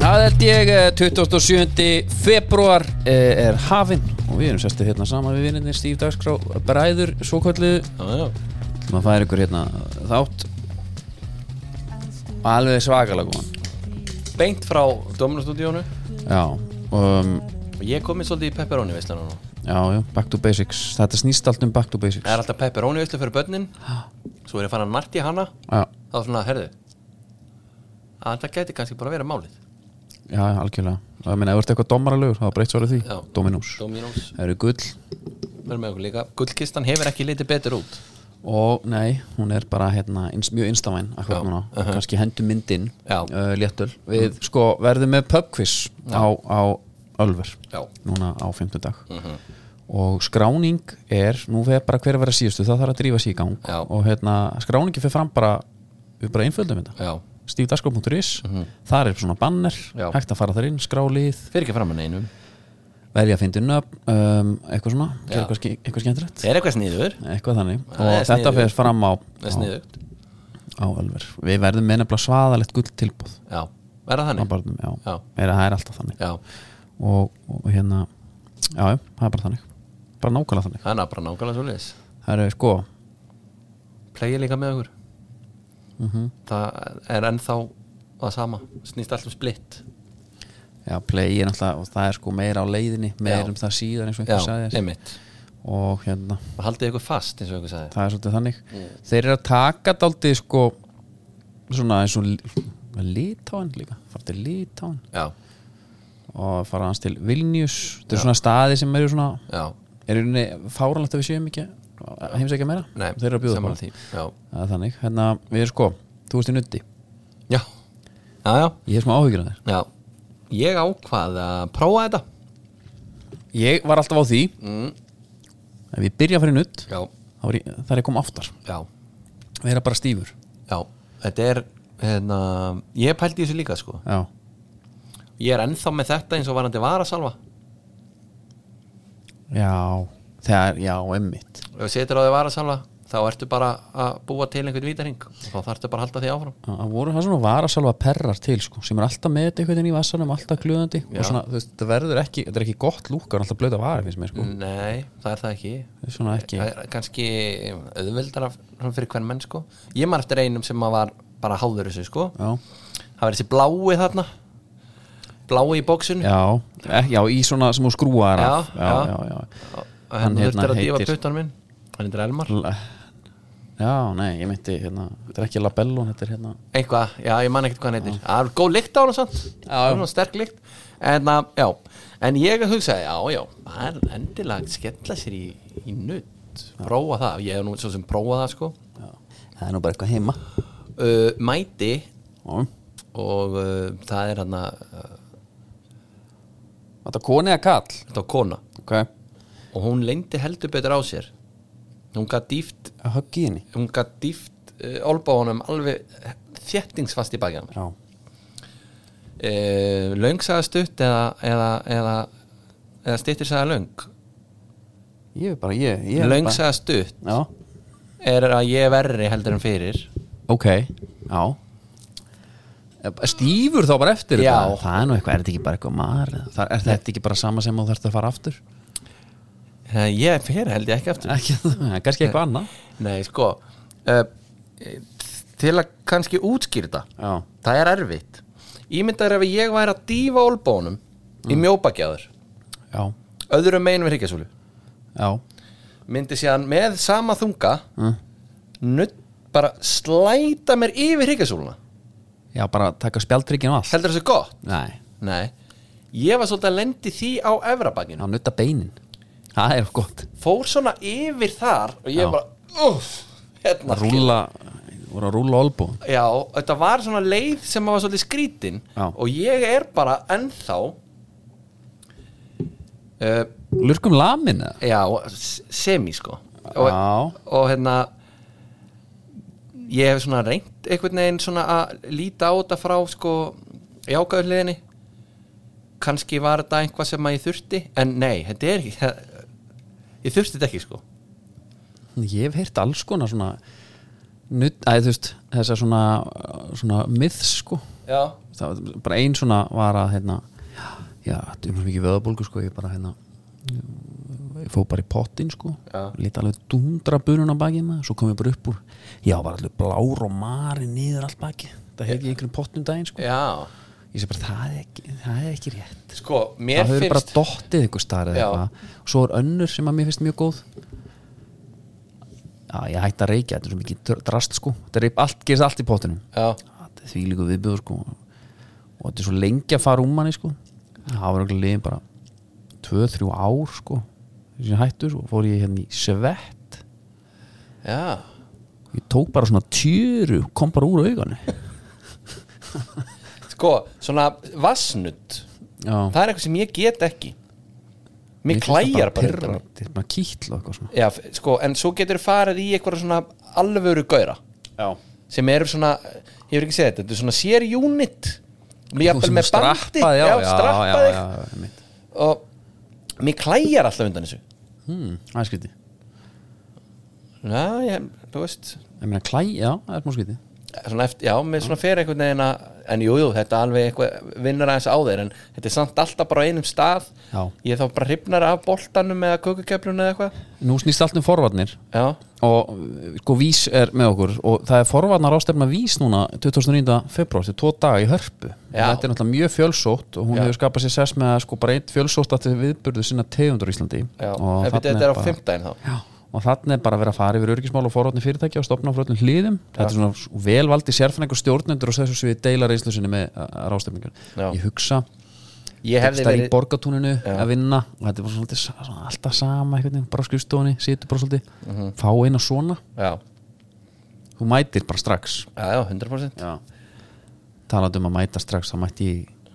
held ég eh, 27. februar eh, er hafinn og við erum sestu hérna saman við vinninni Stíf Dagskrá bræður svo kvöldu Já, já. maður fær ykkur hérna þátt alveg svakalega góðan Beint frá Dominostúdíónu já, um, og ég kom inn svolítið í pepperoni veislana nú já, já, back to basics þetta snýst allt um back to basics Það er alltaf pepperoni veislu fyrir börnin Svo er ég fann að narti hana já, Það var svona, herðu að Þetta gæti kannski bara að vera málið já, algjörlega og ég meina, ef þú ert eitthvað domaralegur, það er breytt svarið því Já. Dominós, Dominós, það eru gull verðum með okkur líka Gullkistan hefur ekki litið betur út og nei, hún er bara hérna, ins, mjög instavæn akkurat Já, núna, kannski hendur myndin Já. Mhm. uh, léttöl, við sko verðum með pubquiz á, á Ölver, Já. Mhm. núna á 50 dag og skráning er nú vegar bara hver að vera síðustu, það þarf að drífa sig í gang Já. og hérna, skráningi fyrir fram bara við bara einföldum þetta Já, stífdaskó.is, þar er svona banner Mhm. Já. hægt að fara þar inn, skrálið fyrir ekki fram að neinum velja að fyndi nöfn, um, eitthvað svona Já. gera eitthvað, ske- eitthvað skemmtilegt, Er eitthvað sniður? eitthvað þannig Það og er þetta sniðugt. fer fram á, Það er á sniðugt á Ölver við verðum með nefnilega svaðalegt gull tilbúð Já, er það á þannig? barnum, já, Já. Er, það er alltaf þannig Já, og, og hérna, já, já, það er bara þannig bara nákvæmlega þannig það er bara nákvæmlega svo leis það er sko, Plegið líka með okkur Mhm. Það er ennþá það sama Snýst um alltaf splitt já, play er náttúrulega og það er sko meira á leiðinni, meira Já. um það síðan eins og Já, einhver sagði þér. einmitt og hérna, og haldið ykkur fast eins og ykkur sagði það er svolítið þannig þeir eru að taka dálítið sko svona eins og li- litáin líka, fara til litáin já, og fara hans til Vilnius þetta eru svona staði sem eru svona já, er í rauninni fáranlegt að við séum ekki að heimsækja meira, nei þeir eru að bjóða sammála bara. því, já, það er þannig, hérna við erum sko þú veist í nutti, já, já, já, ég er smá áhyggjur af já. ég ákvað að prófa þetta þér ég var alltaf á því mm. ef ég byrja að fara í nutt, já, þá er ég, þar er ég kom aftar já, vera bara stífur, já þetta er, hérna ég pældi í þessu líka sko, já, ég er ennþá með þetta eins og varandi varasalva já þegar, já, emmitt ef þú setur á því varasalva þá ertu bara að búa til einhvern vítaring og þá þarftu bara að halda því áfram það voru það svona varasalva perrar til sko, sem er alltaf með þetta einhvern veginn í vassanum alltaf glöðandi og svona, þú veist, þetta verður ekki þetta er ekki gott lúkar, alltaf blöta varar finnst mér sko, nei, það er það ekki mm. svona ekki, Það er kannski auðveldara svona fyrir hvern menn sko ég maður eftir einum sem að var bara háður þessu sko já það var þessi blái þarna blái í bóksinu Já, eh, já, í svona sem hún skrúar af Já, já. já, já, og Hann hann þurftir hérna að dífa heitir- puttan minn hann heitir Elmar já. já nei, ég meinti hérna, þetta er ekki labellun, þetta er hérna eitthvað, já ég man ekkert hvað hann heitir það er góð lykt á hann og samt já. Svona sterk lykt en, að, já. en ég hugsaði, já já það er endilega að skella sér í, í nutt prófa það, ég hef nú svo sem prófa það sko Það er nú bara eitthvað heima uh, mæti já. og uh, það er hann að uh, Þetta koni eða kall þetta var kona okay. og hún lengdi heldur betur á sér hún gat dýft Að höggi henni hún gat dýft uh, olbáunum alveg þjettingsfast í bakið á mér Já, uh, löngsaða stutt eða, eða, eða, eða stýttir saða löng ég er bara, ég, ég er bara, löngsaða stutt Já, er að ég er verri heldur en fyrir ok, já Eh, Stífur þá bara eftir Já. þetta. Það er nú eitthvað, er þetta ekki bara eitthvað mar Það er þetta ekki bara sama sem þú þarft að fara aftur Eh, ég fyrir held ég ekki aftur Ekki, kannski eitthvað annað nei sko uh, til að kannski útskýrta Já, það er erfitt ímyndar ef ég væri að dýfa olbónum í mjóbakjaður já, öðrum megin við hryggjasúlu já myndi síðan með sama þunga Mm. nutt bara slæta mér yfir hryggjasúluna Já, bara taka spjaldryggin og allt heldur þessu gott Nei, Nei, ég var svolítið að lendi því á efrabakinu já, nutta beinin Það er gott Fór svona yfir þar og ég Já. bara Uff, hérna Rúla, voru að rúla olbúin Já, þetta var svona leið sem var svolítið skrítin Já. Og ég er bara ennþá uh, Lurkum lamin eða? Já, s- semi sko og, Já. og hérna Ég hef svona reynt einhvern veginn svona að líta á þetta frá sko jákaðurliðinni kannski var þetta einhvað sem að ég þurfti en nei, þetta er ekki ég þurfti þetta ekki sko Ég hef heyrt alls konar svona nutt, æ, þú veist, þessar svona svona myths sko Já, það var bara ein svona var að hérna, já, þetta er mjög mikið vöðabólgu sko, ég bara hérna ég fóð bara í pottin sko Já. lítið alveg dundra bunun á bakið maður svo kom ég bara upp úr, já, var allir blár og mari niður allt bakið það hef ég einhverjum pottum daginn sko já, ég sé bara, það er ekki, það er ekki rétt sko, mér það hefur bara finnst dottið ykkur starf Já. og svo er önnur sem að mér finnst mjög góð já, ég hætti að reykja þetta er svo mikið dr- drast sko þetta er allt, gerist allt í pottinum já, þetta er því líka viðbjöður sko og þetta er svo lengi að fara um manni sko það var okkur liðin bara 2-3 ár sko þessi hættur og fór ég hérna í svett já, ég tók bara svona tjöru kom bara úr augunni sko svona vassnutt já, það er eitthvað sem ég get ekki mér finnst það klæjar bara pirra- þetta mér. þetta er bara kýtl og eitthvað svona já, f- sko, en svo getur farið í eitthvað svona alvöru gauðra já, sem eru svona, ég hefur ekki segið þetta þetta er svona sér unit jafnvel með bandi, já, já, já, strappaði já, já, einmitt. og mér klæjar alltaf undan þessu hmm, það er skrítið já, ég, þú veist ég meina klæ, já, það er smá skrítið svona eftir, já, með svona fer einhvern veginn að en jú, jú, þetta er alveg eitthvað vinnur aðeins á þeir en þetta er samt alltaf bara á einum stað Já. ég er þá bara hrifnar af boltanum eða kökukeflunum eða eitthvað nú snýst allt um forvarnir já, og uh, sko vís er með okkur og það er forvarnar ástefna vís núna 2009. februar, þetta er tvo daga í hörpu Já. þetta er náttúrulega mjög fjölsótt og hún Já. hefur skapað sér sess með að sko bara eitt fjölsótt að þetta viðburðu sinna tegundur í Íslandi já, og ef þetta þarna er á bara- fimmtæðin þá Já, og þannig er bara að vera að fara yfir örgismál og forvarnir fyrirtækja og stopna á fröllum hliðum þetta er svona velvaldi sérfæningur stjórnendur og þessu sem við deila reynslu sinni með rástefningar Já. ég hugsa ég hefði stær í verið, borgatúninu að vinna og þetta er bara svolítið sa- svona, alltaf sama einhvern veginn, bara á skrifstofunni, situr bara svolítið Mhm. fá eina svona, já, þú mætir bara strax já, já, 100% já. talandi um að mæta strax þá mætti ég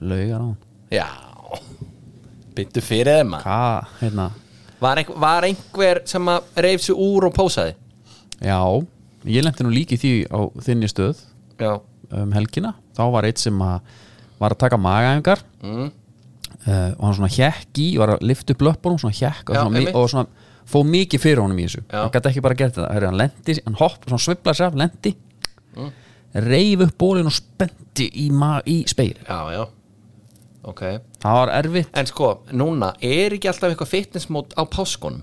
laugar á hann já, byttu fyrir þeim maður. hvað, hérna, var, einhver, var einhver sem að reyf sig úr og pósaði já ég lendi nú líki því á þinni stöð já, um helgina, þá var eitt sem að var að taka magaæfingar mm. uh, og hann svona hjekk í, var að lifta upp löppunum svona hjekk og, Já, svona, mi- einmitt. og svona fó mikið fyrir honum í þessu Já. hann gæti ekki bara gert þetta, Heri, hann lendi hann hopp, svona svipla sér af, lendi Mm. reif upp bólin og spendi í, ma- í speil já, já ok, það var erfitt, en sko, núna er ekki alltaf eitthvað fitnessmót á páskunum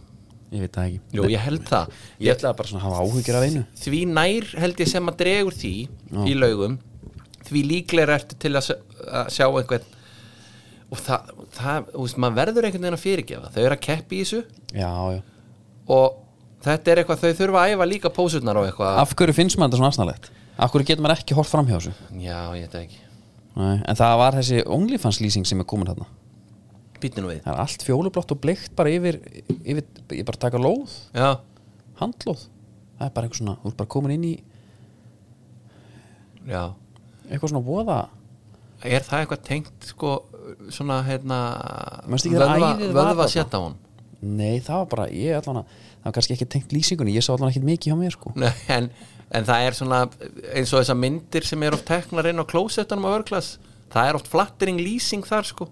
ég veit það ekki jú, ég held það ég ætlaði bara svona að hafa áhyggjur af einu því nær held ég sem að dregur því í laugum því líklega ertu til að, s- að sjá einhvern og það, það þú veist, maður verður einhvern veginn að fyrirgefa þau eru að keppi í þessu já, já. og þetta er eitthvað þau þurfa að æfa líka pósurnar og eitthvað af hverju finnst maður þetta svona aðsnalegt af hverju getur maður ekki hort framhjá þessu já, ég veit það ekki, Nei, en það var þessi OnlyFans lýsing sem er komin þarna býtni nú við það er allt fjólublátt og bleikt bara yfir, yfir ég bara taka lóð já, handlóð það er bara eitthvað svona, þú ert bara komin inn í já eitthvað svona voða er það eitthvað tengt sko svona hérna Manstu ekki þegar vöðva- æðið var vöðva þarna? setta hún nei það var bara, ég allan að það var kannski ekki tengt lýsingunni, ég sá allan ekki mikið hjá mér sko Nei, en, en það er svona eins og þessar myndir sem eru oft teknar inn á klósettunum á vörglas það er oft flattering lýsing þar sko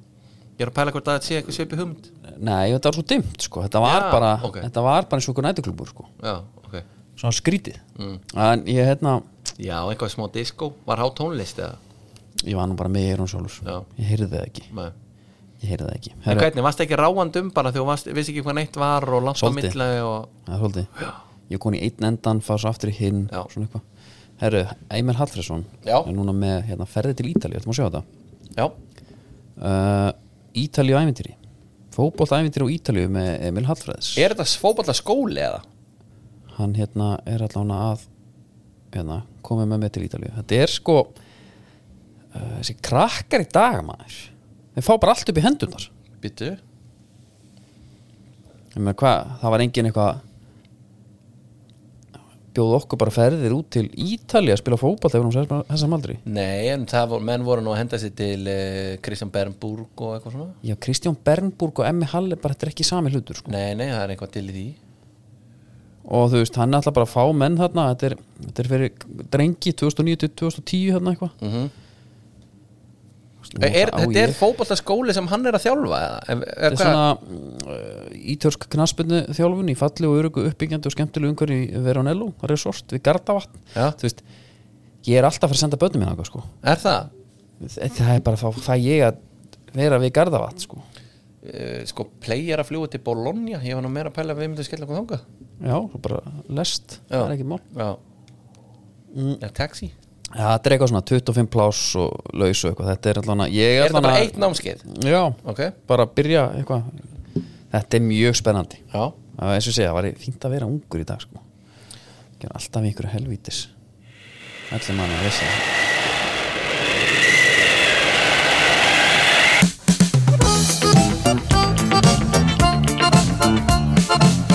ég er að pæla hvort að þetta sé eitthvað sveipi hugmynd nei þetta var svo dimmt sko, þetta var Já, bara ok. þetta var bara eins og okkur nætuklubur sko já, ok svona skrítið Mm. en ég hérna, já, eitthvað smá disco, var há tónlist eða ég var nú bara með Eirun Sólus Já. ég heyrði það ekki, Nei. ég heyrði það ekki en Herra, hvernig, varst ekki ráand um bara þegar þú varst, vissi ekki hvað neitt var og langt á Svolítið. milli og það er svolítið ég er komin í einn endan, fara svo aftur í hinn Já. svona eitthvað, herru, Eimer Hallfriðsson Já. er núna með hérna, ferði til Ítali, þetta má sjá þetta já, uh, Ítalíu ævintýri fótbolta ævintýri á Ítalíu með Emil Hallfræðs er þetta fótballa skóli eða? hann hérna er allan að hérna, komið með mig til Ítalíu þetta er sko uh, þessi krakkar í dag maður þeir fá bara allt upp í hendunar byttu meina, hvað, það var engin eitthvað bjóð okkur bara ferðir út til Ítalíu að spila fótbolta ef hún þessam aldri nei, en það vor, menn voru nú að henda sér til eh, Kristján Bernburg og eitthvað svona Já, Kristján Bernburg og Emmi Halle bara þetta er ekki sami hlutur sko. nei, nei, það er eitthvað til í því og þú veist, hann er alltaf bara að fá menn þarna þetta er, þetta er fyrir drengi 2009-2010 þarna hérna eitthvað mhm Nú, Sko, það Er, á þetta er ég. fótballaskóli sem hann er að þjálfa eða? Ef- Þetta eða er hvað? svona uh, ítörsk knaspinu þjálfun í falli og örugu uppbyggjandi og skemmtilegu umhverju í Veronello resort við Gardavatn Já. þú veist, ég er alltaf að fara að senda börnum minna sko. Er það? það er bara þá fæ ég að vera við gardavat sko. Eh, sko, play er að fljúa til Bologna ég var nú meira að pæla að við myndum skella okkur þangað já, þú bara lest það er ekki mál já eða Mm. taxi Já, þetta er eitthvað svona 25 pláss og lausu eitthvað Þetta er allan að ég er það allan bara að eitt námskeið Já, ok, bara að byrja eitthvað Þetta er mjög spennandi já, Það eins og ég segja, það var fínt að vera ungur í dag sko Gjör alltaf í einhverju helvítis Allir mann að vissi það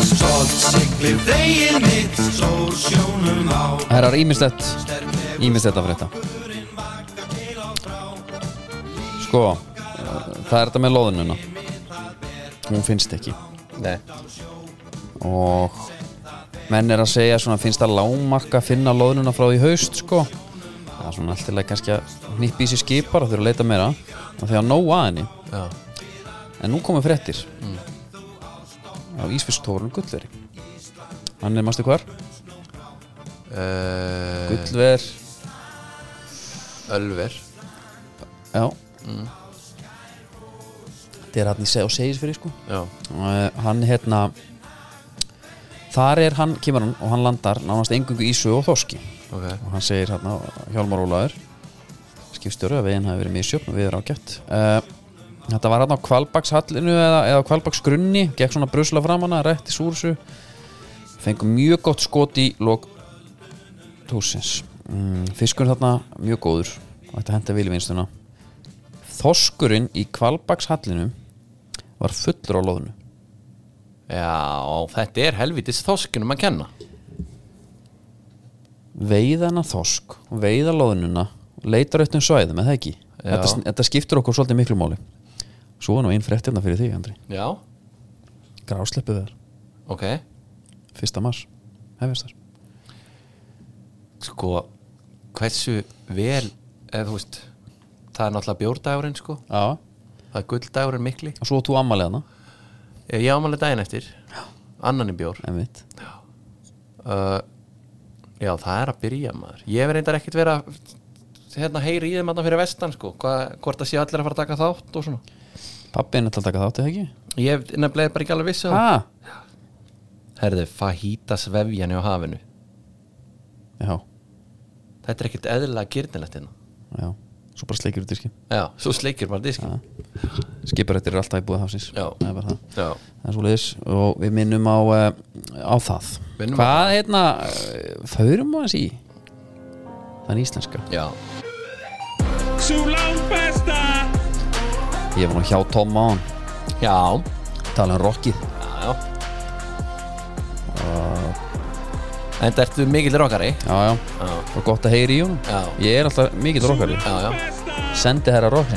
Stolt siglir veginn mitt Sól sjónum á Það er ímislegt Ímislegt að frétta Sko, eh, það er þetta með loðununa Hún finnst ekki nei og menn er að segja svona finnst það lágmark að finna loðnuna frá því haust sko það er svona allt í leið kannski að hnippi í sér skipar og þurfa að leita meira og þegar nóg að henni já, en nú komum fréttir á Ísfisktórun Gullveri hann er mástu hvar? Eh. uh, Gullver Ölver já mm. þetta er hann í seg og segis fyrir sko já, uh, hann hérna þar er hann, kemur hann og hann landar nánast engungu ísu og þoski ok og hann segir hérna Hjálmar Ólaður skipstjóru að veginn hafi verið misjöfn og við erum ágætt uh, þetta var hérna á kvalbakshallinu eða, eða kvalbaksgrunni gekk svona brusla fram hana, rétti súrsu fengum mjög gott skot í lok túsins mm, fiskur þarna mjög góður og þetta henda vilvinstuna þoskurinn í kvalbakshallinu var fullur á loðinu já, þetta er helvitis þoskinum að kenna veiðana þosk og veiða loðnuna og leita rautt um svæðum, eða ekki Já. þetta, þetta skiptur okkur svolítið miklu máli svo er nú einn fréttirna fyrir þig, Andri já, grásleppu veðar, ok fyrsta mars hefist þar sko, hversu vel eða þú veist það er náttúrulega bjórdagurinn sko Já. það er gulldagurinn mikli Eh, og svo þú ammaliðana, ég ámæli daginn eftir, annan í bjór einmitt uh, já, það er að byrja maður ég verið reyndar ekkert vera hérna heyri í þeim að fyrir vestan sko Hva, hvort það sé allir að fara að taka þátt og svona pappin er til að taka þáttið, ekki? ég hef nefnilega bara ekki alveg vissi Ha? herðu, fajitas vefjani á hafinu Já, þetta er ekkert eðlilega gyrnilegt hérna já, svo bara sleikir út diskin já, svo sleikir maður diskin skiparættir eru alltaf í búið hafsins Já. það er bara það já, Það er svoleiðis og við minnum á, uh, á það Minnum á Hvað hérna uh, förum aðeins í þann íslenska já, Sú langt besta Ég var nú hjá Tom á hann já, tala um rockið já. en þetta ertu mikil rockari Já, já, já, og gott að heyri í honum Já. Ég er alltaf mikill rockari já, já Sendi herra rock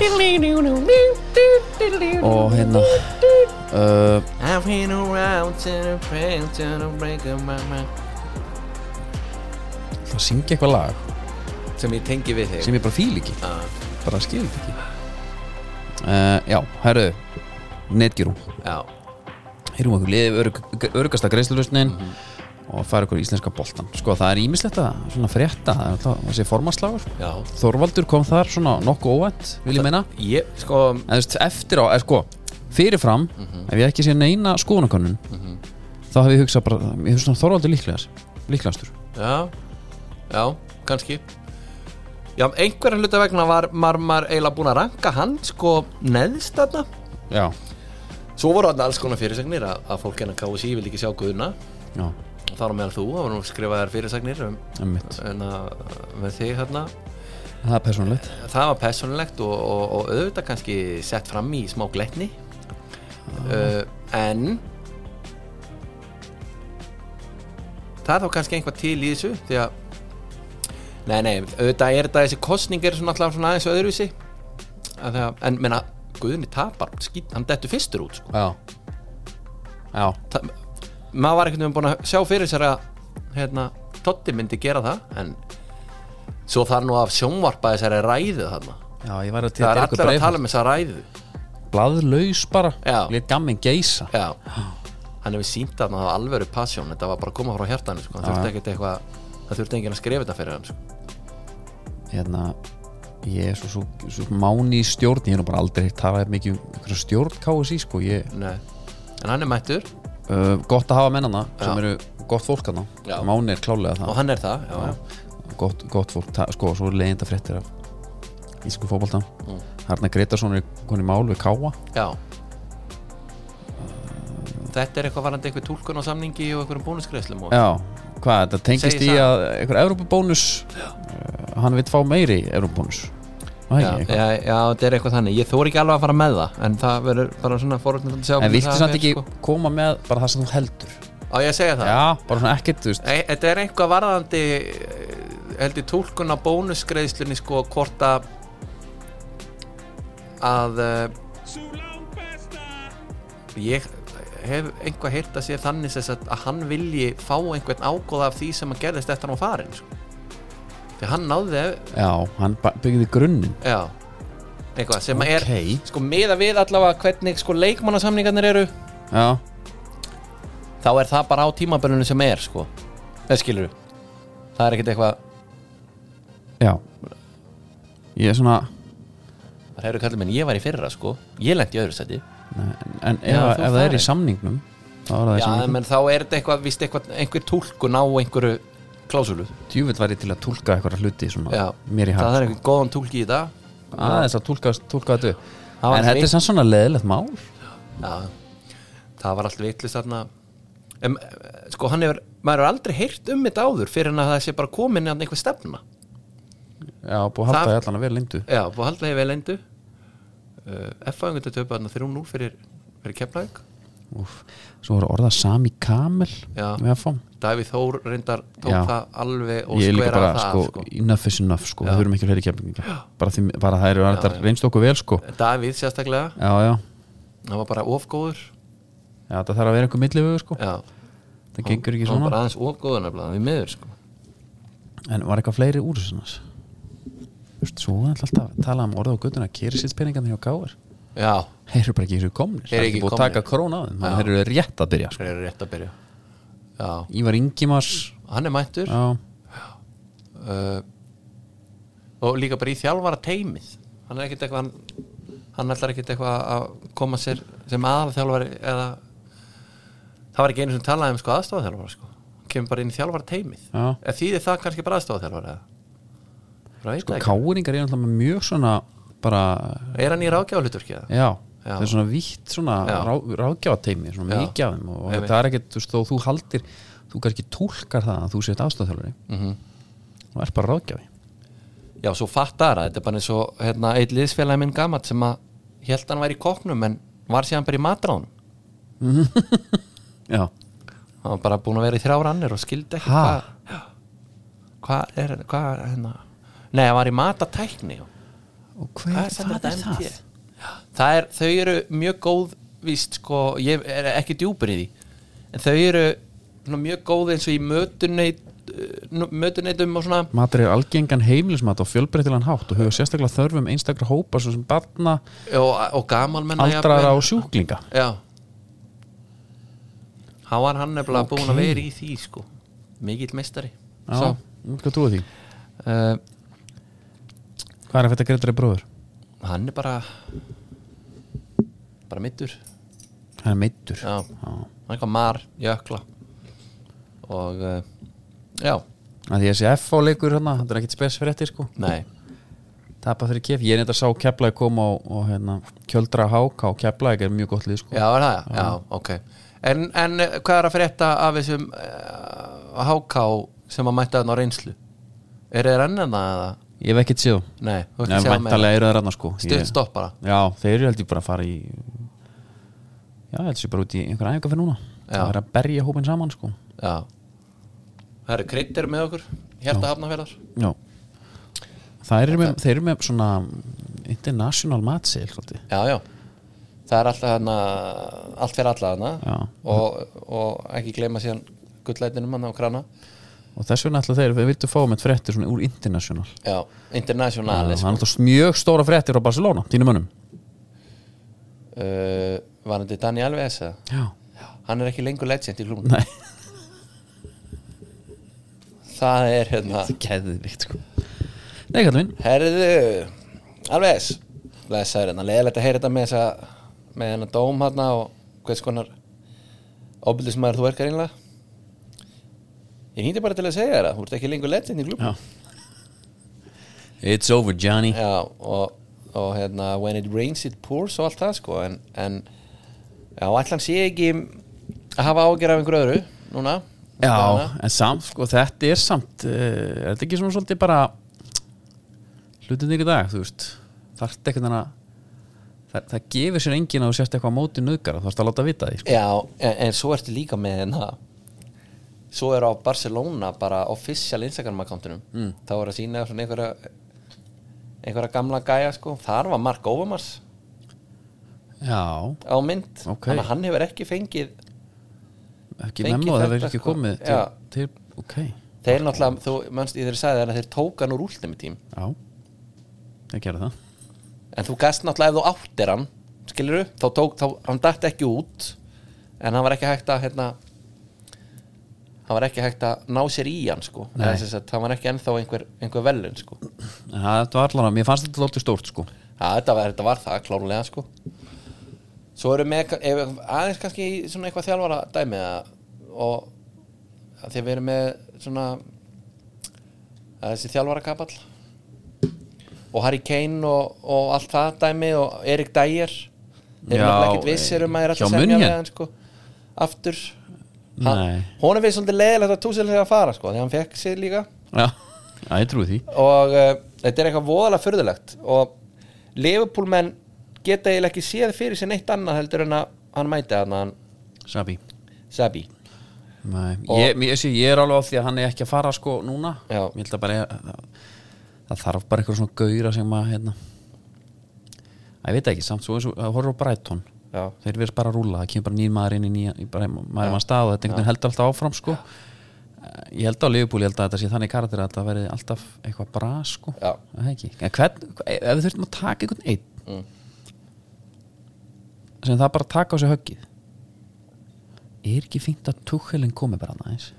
Og hérna uh, I've been around to the pain to the break of my mind Það syngi eitthvað lag sem ég tengi við þig sem ég bara fíl ekki Já. Bara skil ekki uh, Já, herru Netgyrum já, Heyrum okkur liðið örug, örugasta greiðslurusnin og fara okkur í íslenska boltan Sko, það er ímislegt að svona frétta það er alltaf þessi formanslagur já Þorvaldur kom þar svona nokkuð óvænt vil ég meina ég, sko, en þú veist, eftir á, er sko fyrirfram, Mhm. ef ég ekki sé neina skoðanakönnun þá hef ég hugsað bara, ég hef svona Þorvaldur líklegas líklegastur, já já, kannski já, einhverja hluta vegna var marmar eiginlega búin að ranka hann sko neðst þarna já, svo voru þarna alls konar fyrirsagnir að, að fólk hérna hennar KSI vildi ekki sjá guðuna já, þá erum meðal þú, það voru nú skrifaðar fyrirsagnir um, emmitt en að, með þig þarna það er persónulegt, það var persónulegt og, og, og auðvitað kannski sett fram í smá gletni uh, en það er þá kannski einhvað til í þessu því að nei, nei, auðvitað er þetta þessi kostning er svona alltaf svona aðeins öðruvísi að það, en menna, Guðni tapar skýt, hann dettur fyrstur út sko. já já, Ta- maður var einhvern veginn búin að sjá fyrir sér að hérna, Totti myndi gera það en svo þar nú að sjónvarpa þessari ræðu þarna já, ég var að til það er gera ykkur allir að breið. tala um þessa ræðu blaðlaus bara, Já. lét gammin geisa já hann hefur sínt að það var alvöru pasjón þetta var bara að koma frá hjartanu sko. hann Já, þurfti já. ekkert eitthvað það þurfti enginn að skrifa þetta fyrir hann sko. hérna ég er svo, svo, svo máni í stjórn ég er nú bara aldrei talað mikið um einhverja stjórn KSI sko, ég, Nei. En hann er mættur uh, gott að hafa mennana sem Já. eru gott fólk hann Já. máni er klálega og það hann er það já, já. gott, gott fólk, ta, sko, svo er leiðinda fréttir af íslensku fótbolta mm. Harna Gretarsson er koni mál við Káa Já. Þetta er eitthvað varandi einhver túlkun á samningi og einhverjum bónusgreðslum og... já, hvað, þetta tengist í Segir það. að einhver Evropabónus uh, hann vil fá meiri Evropabónus Æ, Já, já, já, þetta er eitthvað þannig Ég þóri ekki alveg að fara með það En það verður bara svona forutnir að sjá en hvernig viltu það samt fer, ekki sko. koma með bara það sem þú heldur Á ég að segja það? já, bara svona ekkert, þú veist Nei, Þetta er eitthvað varðandi eh, held ég túlkun á bónusgreðslunni sko hvort að að eh, Sú langt besta ég hef einhvað heyrt að sé þannig sem sagt að hann vilji fá einhvern ágóða af því sem að gerðist eftir hann var farin sko. því hann náði já, hann ba- byggði grunnin já, eitthvað sem að er Ok. sko meða við allavega hvernig sko leikmannasamningarnir eru já, þá er það bara á tímabölunum sem er sko, það skilur það er ekkert eitthvað, já ég er svona það hefur kallið minn ég var í fyrra sko, ég lendi í öðru sæti nei, en ef, Já, ef þú það er farin. í samningnum þá er það í já, samningnum menn þá er þetta eitthvað, víst eitthvað einhver túlkun á einhverju klásulu djúvill væri til að túlka eitthvað hluti svona já, mér í það hart sko. er einhver góðan túlki í dag aðeins að túlka, túlka þetta upp. Það var en þetta frí. er samt svona leðilegt mál Já, það var alltaf vitlust þarna em, eh, sko hann hefur, maður hefur aldrei heyrt um þetta áður fyrir en að það sé bara komin eða einhver stefna já, búið að halda Það- það... allan að vera lindu Já, og haldið hefur leindu uh, F-fæðingur til töpa þarna 3-0 fyrir, fyrir Keflæk Úf. svo voru orða Sami Kamel Já. með að fá Davíð Þór reyndar tók Já. það alveg og ég er líka skvera bara, það sko, sko, sko. enough is enough sko. Já. við höfum ekki fleiri kefninga bara, því, bara það eru þetta já. reynst okkur vel sko. Davíð sérstaklega, já, já, hann var bara ofgóður já það þarf að vera einhver millivögu sko. Já, það gengur ekki hann var svona bara aðeins ofgóður nefnilega, við miður sko en var eitthvað fleiri úr þessu annars? Þú veist, svo var alltaf að tala um orða og göttuna kýrisinspenningarnir hjá Káir Já, þeir eru bara ekki þessu komnir Þeir það eru er ekki ekki búið að komnir. taka krónu á þeim þannig að þeir eru rétt að byrja sko. hver er rétt að byrja Já, Ívar Ingimars hann er mættur já, uh, og líka bara í þjálfara teimið hann er ekkert eitthvað hann, hann ætlar ekkert eitthvað að koma sér sem aðalþjálfari eða það var ekki einu sem talaði um sko aðstofaþjálfara sko hann kemur bara inn í þjálfara teimið Já. eða þýðir það kannski bara aðstofaþjálfara eða bara veit sko, það ekki Káiringar er alltaf með mjög svona bara, er hann í rákjáhluturki eða? já, Já. það er svona vítt svona Já. rá, ráðgjáðateimi svona Já. mikið af þeim og, og Einmitt. það er ekkert, þú veist, þó þú haldir þú kannski tólkar það að þú sétt afstöðþjálfari mm Mhm. -hmm. og er bara ráðgjáði já svo fattar að þetta er bara eins og hérna, eitt liðsfélagi minn gamat sem að held hann væri í koknum en var síðan bara í matráðun já, hann var bara búin að vera í þrjár annir og skildi ekki Ha? hvað hvað er hvað hérna nei, hann var í matatækni og hver, Hvað það, er það MT? það er, þau eru mjög góð víst sko, ég er ekki djúpur í því en þau eru svona, mjög góð eins og í mötuneyt uh, mötuneytum og svona matur er algengan heimilismat og fjölbreytilegan hátt og hefur sérstaklega þörfum einstakra hópa svo sem barna, og, og gamalmenna aldrara jafnvel. og sjúklinga já hann var hann nefnilega Ókei. búin að vera í því sko mikill meistari já, Mm, hvað trúið því? uh, Hvað er að þetta greitari bróður? hann er bara bara mittur Hann er meittur já, hann er eitthvað mar, jökla og uh, já, að því að þessi F á leikur hérna, þetta er ekkit spes fyrir þetta sko nei tapa fyrir kef, ég er neitt að sá keflaði koma og, og hérna, kjöldra háka og keflaði er mjög gott lið sko já, er það, já, ok en, en eh, hvað er að frétta af þessum uh, háká sem að mætta þarna á reynslu er þeir enn en það eða? ég hef ekkit séð þá. nei, þú ert Nei, að segja með væntalega eru það rannar sko stutt stopp bara Já, þeir eru held ég bara að fara í Já, held ég bara út í einhverja æfingar fyrir núna Já. Það er að berja hópin saman sko já það eru kreittir með okkur hérta hafnafjörðar Já Það eru með, þeir eru með svona international matseil svolítið já, já það er alltaf hana, allt fyrir alla hana Já. og, og ekki gleyma síðan gullætinum hann á krana og þess vegna ætla þeir, við viltu fá með fréttir svona úr international já, Það international er sko. náttúrulega mjög stóra fréttir á Barcelona, þínum önum uh, var hann til Dani Alves eða? Já, hann er ekki lengur legend í klúm nei það er hérna Geðvikt sko Nei, kallum minn Herðu, alveg þess Lesaður hérna, leðilegt að heyra þetta með þess að með hennar dóm hérna og hvers konar óbyldismæður þú verkar einlega Ég hýndi bara til að segja þér að þú ert ekki lengur legend í klubum Já It's over Johnny Já, og, og hérna when it rains it pours og allt það sko en, en já, allan sé ekki að hafa ágjör af einhverju öðru núna Já, en samt, sko, þetta er samt uh, Er þetta ekki svona svolítið bara Hlutinir í dag, þú veist Þarft ekkert að það, það gefur sér enginn að þú sért eitthvað á móti nöðgara Þú þarft að láta vita því sko. Já, en, en svo ertu líka með hérna Svo er á Barcelona bara official Instagram akkántunum mm. Þá er að sína svona einhverja einhverja gamla gæja sko Þar var Mark Overmars Já, á mynd Ok. Þannig að hann hefur ekki fengið ekki Fengi memma Það þetta, verður ekki sko. komið til, Já. til Ok, já, Þeir náttúrulega, þú manst í þeirri sagði þannig að þeir tók hann úr últimi tím ég gerði það En þú gast náttúrulega ef þú áttir hann Skilur Þá tók, þá, hann datt ekki út En hann var ekki hægt að hérna Hann var ekki hægt að ná sér í hann sko Nei. Eða sem sagt, Hann var ekki ennþá einhver, einhver velun sko En það þetta var allan að, mér fannst þetta lótið stórt sko Já, þetta var, þetta var það, klárlega sko Svo eru með ef, aðeins kannski í svona eitthvað þjálfara dæmi að, og að því að við erum með svona að þessi þjálfara kapall og Harry Kane og, og allt það dæmi og Erik Dyer þeir Já, eru náttúrulega ekkert vissir um að þeir eru hjá alltaf semja München? með hann sko aftur Nei. hún er við svolítið leiðilegt að túsil þegar að fara sko því hann fekk sér líka Já, já ég trúi því og uh, þetta er eitthvað voðalega furðulegt og Liverpool menn geta eiginlega ekki séð fyrir sér neitt annað heldur en að hann mæti að hann Sabi Sabi Nei, Og- ég, ég, sé, ég er alveg á því að hann er ekki að fara sko núna Já. Ég held að bara að, Það þarf bara eitthvað svona gauðra sem að hérna Æ, ég veit ekki, samt svo eins og að horfa á Brighton Já. Þeir verðs bara að rúla, það kemur bara nýr maður inn í nýja í bara, maður er maður stað og þetta einhvern veginn heldur alltaf áfram sko Ég held á Liverpool, ég held að þetta sé þannig karakter að þetta verði alltaf eitthvað bra sko Já. Er það ekki En hvern, ef við þurftum að taka einhvern einn sem það bara taka á sig höggið er ekki fínt að Tuchelin komi bara aðeins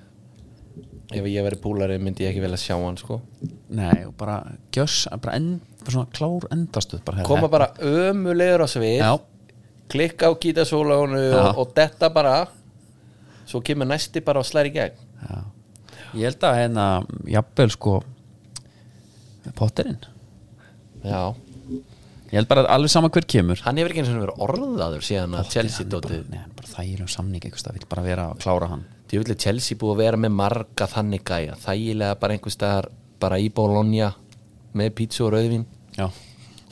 ef ég verið púlari myndi ég ekki vel að sjá hann sko Nei, og bara gjöss bara, end, bara svona klár endastuð bara, herri, koma þetta- bara ömulegur á svið Já, klikka á gítasólónu Já. og, og detta bara svo kemur næsti bara og slæri í gegn já Ég held að hérna, jafnvel sko Potterinn já, Ég held bara að alveg sama hver kemur hann hefur ekki eins og verið orðaður síðan að Chelsea dótið Nei, hann er bara þægilegum samning eitthvað, það vil bara vera að klára hann Djöfulli Chelsea búið að vera með marga þannig gæja Þægilega bara einhvers staðar bara í Bologna með pítsu og rauðvin Já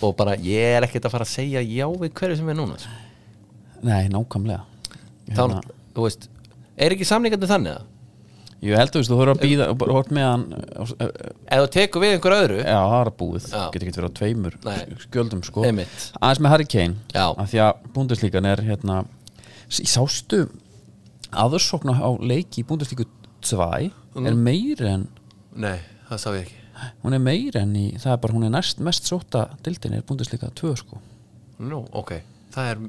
og bara ég er ekkert að fara að segja já við hverju sem er núna sko. Nei, nákvæmlega Þá, þú veist, er ekki samlingandi þannig að Ég held þú veist, þú voru að býða og bara hort með hann uh, uh, uh, ef þú tekur við einhver öðru Já, það er að búið, Já. getur ekki verið á tveimur Nei. skjöldum sko Einmitt. Aðeins með Harry Kane Já. af því að búnduslíkan er hérna s- Sástu aðursokna á leiki í búnduslíku 2 Mhm. er meiri en Nei, það sá ég ekki hún er meiri en í, það er bara hún er næst mest sóta dildin er búnduslíka 2 sko Nú, ok, það er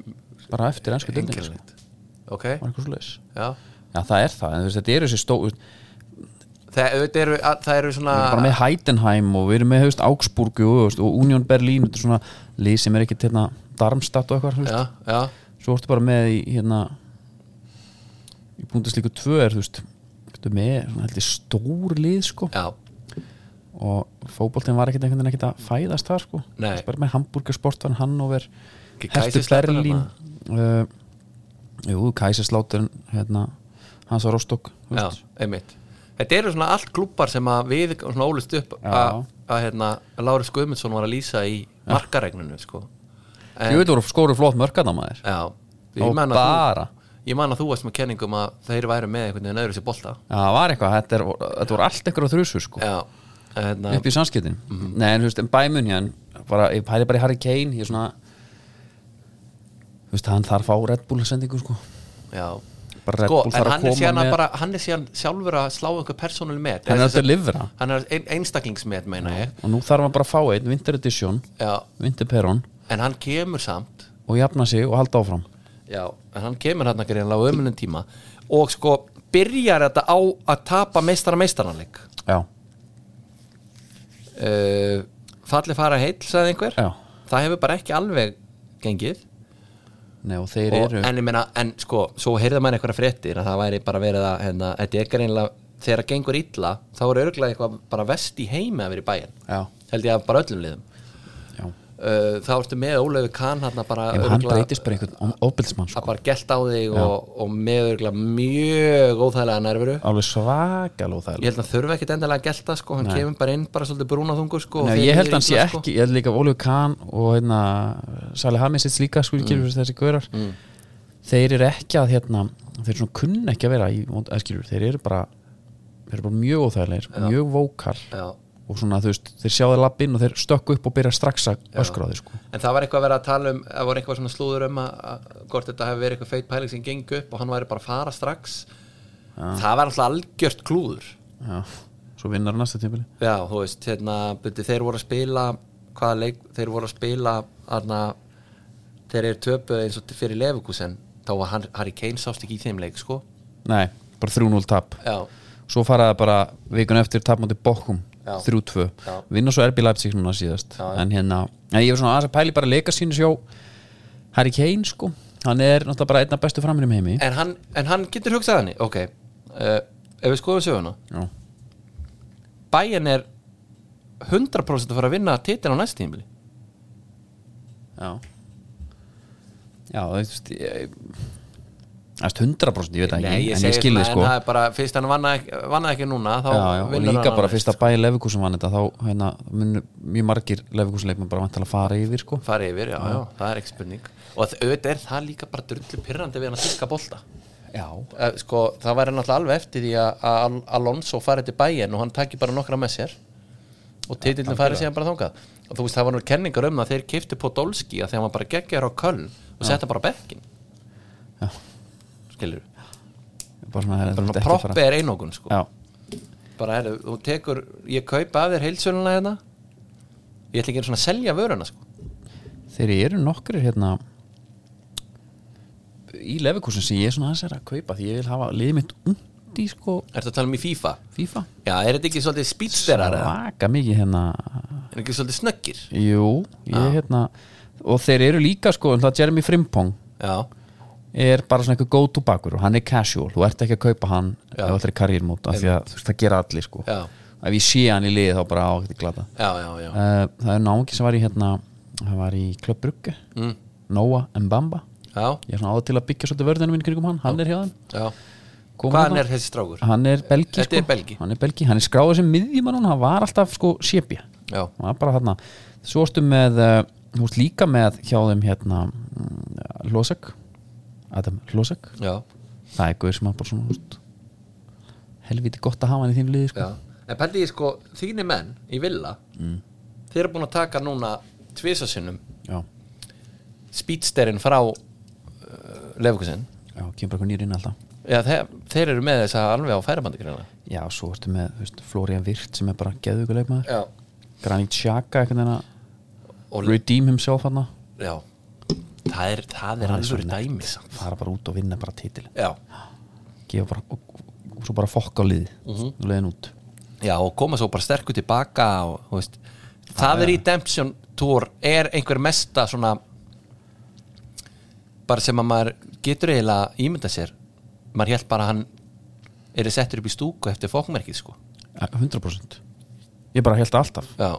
bara eftir ennsku dildin sko. einkennilegt Ok, var eitthvað svoleiðis já Já, það er það, en þú veist, þetta eru þessi stó þú veist, Það, auðvitað eru, að- það eru svona við erum bara með Heidenheim og við erum með hefst, Augsburg og, hefst, og Union Berlin þetta er svona lið sem er ekkit hérna, Darmstadt og eitthvað Já, hefst. já, svo ertu bara með í hérna í búndislíku tvö er þú veist ertu með svona heldur stór lið sko já og fótboltinn var ekkit einhvern veginn ekkit að fæðast þar sko Þú Nei. veist, bara með Hamburger Sportvan Hannover Ekki Hertu Kaiserslautern Berlín uh, Jú, Kæsislátturinn hérna, hans var Rostock þú Já, veist. einmitt Þetta eru svona allt klubbar sem að við svona ólust upp Já. að, að hérna, Lárus Guðmundsson var að lýsa í markaregninu sko. En- Ég veit þú skóru flott mörgarna maður Já, Og ég man að bara. þú, ég man að þú varst með kenningum að þeir væri með einhvern veginn öðru sér bolta Já, það var eitthvað, þetta, er, þetta voru allt einhverja þrjusur sko Já, hérna, upp í samskiptin Nei, en þú veist, en bæmun hér bara, ég pæli bara í Harry Kane ég er svona þú veist, hann þarf á Red Bull sendingu sko já bara Red Sko, Bull en þarf að hann er, koma síðan að með bara, hann er síðan sjálfur að slá einhver persónul met hann er Eða sem alltaf að sagt- livra hann er ein, einstaklingsmet meina ég og nú þarf hann bara að fá einn, Winter Edition já, Winter Perron en hann kemur samt og jafna sig og halda áfram Já, en hann kemur hann ekki reynilega á ömunum tíma og sko byrjar þetta á að tapa meistara meistaranleik Já, uh, falli fara heill, sagði einhver Já, það hefur bara ekki alveg gengið nei og þeir og, eru en ég meina, en sko, svo heyrði maður einhverja fréttir að það væri bara verið að hérna, þetta er greinlega, þegar það gengur illa þá er örglega eitthvað bara vest í heimi að vera í bæinn, Já, held ég að bara öllum liðum já uh, þá ertu með Ólöfu Kahn hérna bara Ef hann örugglega- breytist bara einhvern óbilsmann að sko. bara gelt á þig og, og með örglega mjög óþægilega nærveru Alveg svakalú það ég held að þurfa ekkit endilega að gelta sko, hann kemur bara inn bara svolítið brúnaðungur sko, og Nei, þeir ég held eru að hann sé illa, sko. ekki, ég held líka Ólíu Kahn og hérna Sali Hamid sitt slíka sko, Mm. skilur þessi gaurar þeir eru ekki að hérna þeir svona kunna ekki að vera í, vond- eða skilur, þeir eru bara þeir eru bara mjög óþægilegir, mjög vókal Já. og svona þú veist, þeir sjá þeir lappinn og þeir stökku upp og byrja strax að öskra á þeir sko En það var eitthvað að vera að tala um það var eitthvað svona slúður um að, að hvort þetta hefði verið eitthvað feit pæling sem geng upp og hann væri bara að fara strax það var alltaf algjört klúður Já, svo vinnar hann næsta tímpili Já, þú veist, hérna, byrju, þeir voru að spila hvaða leik, þeir voru að spila þarna, þeir eru töpuð eins og fyrir Lefukusen þá var hann- Harry Kane sást ekki í þeim leik, sko Nei, bara 3-0 tap Já, Svo fara það bara vikun eftir tapmáti Bokkum Já. 3-2, Já. vinna svo RB Leipzig núna síðast Já, já. en hérna, en ég er svona aðeins að pæli bara leika sínu sjó Harry Kane sko, hann er náttúrulega bara einna bestu framherjum í heimi en hann, en hann getur hugsað henni, ok uh, ef við skoðum söguna Já, Bayern er 100% að fara að vinna titil á næst tímli já Já, þú veist ég- Það er 100% ég veit það Nei, ekki, ég en segi ég skilði svona, sko En það er bara, fyrst hann vannaði ekki, vanna ekki núna þá Já, já, og vinnur líka hann sko. bara annars. fyrst að bæja Lefikús sem vann þetta þá hérna, munu mjög margir Lefikúsleikmenn bara vantilega fara yfir sko Fari yfir, já, já, það er ekki spurning Og þ- auðvitað er það líka bara drullu pirrandi við hann að tilka bolta Já, Eh, Sko, það væri náttúrulega alveg eftir því að- að Al- Alonso farið til bæin og hann taki bara nokkra með sér og titillin farið síðan bara þangað og þú veist, það var nú kenningar um það að þeir keiftu Podolski að þegar hann bara geggjar á köln og setja bara bekkin Já. Skilur, bara svona, það er bara ekki að fara proppi er einokun sko. Já, bara heru, þú tekur, ég kaupa af þér heilsöluna hérna ég ætla ekki einu svona að selja vöruna sko. þeir eru nokkrir hérna í lefikúsin sem ég er svona aðeins er að kaupa því ég vil hafa liðið mitt undi sko ertu að tala um í FIFA FIFA já, er þetta ekki svolítið spýtsterar er svaka mikið hérna þetta ekki svolítið snöggir jú, ég hérna og þeir eru líka sko, en það Jeremy Frimpong já, er bara svona eitthvað go to bakur og hann er casual, þú ert ekki að kaupa hann ef það er karriérmót, af því að þú veist það gera allir sko, Já. ef ég sé hann í liðið þá bara á ekkert glata já, já, já. uh, það er náungi sem var í hérna hann var í Club Brugge mm. Noah Mbamba já, ég er svona áður til að byggja svolítið vörðinu mín kringum hann, hann er hjá þeim já. Kom hvaðan hérna. er þessi strákur hann er belgi, Þetta sko. er belgi. hann er belgi, hann er skráður sem miðjumann núna, hann var alltaf sko sépja já, hann var bara hann svo erstu með, eh, þú veist líka með hjá þeim hérna Losek Adam Losek, já, það er guður sem hann bara svona húst, helviti gott að hafa hann í þínu liði sko. já en pældi ég sko, þínir menn í Villa mm. þeir eru búin að taka núna tvisasinnum já, spýtsterinn frá uh, Lefukusin já, kemur bara eitthvað nýr inn alltaf já, þeir, þeir eru með þess að alveg á færabandi greinlega já, svo erstu með, þú veist, Florian Virt sem er bara geðugur leikmaður, já, Granit Xhaka einhvern veginn að Og- redeem himself hann já það er, það er alveg dæmi samt. fara bara út og vinna bara titil já, gefa bara og, og svo bara fokk á liði mm -hmm. leiðin út já og koma svo bara sterkur tilbaka og, þú veist, það er redemption tour er einhver mesta svona bara sem að maður getur eiginlega ímynda sér maður held bara að hann er settur upp í stúku eftir fókmerkið sko Eh, 100% ég bara held alltaf já,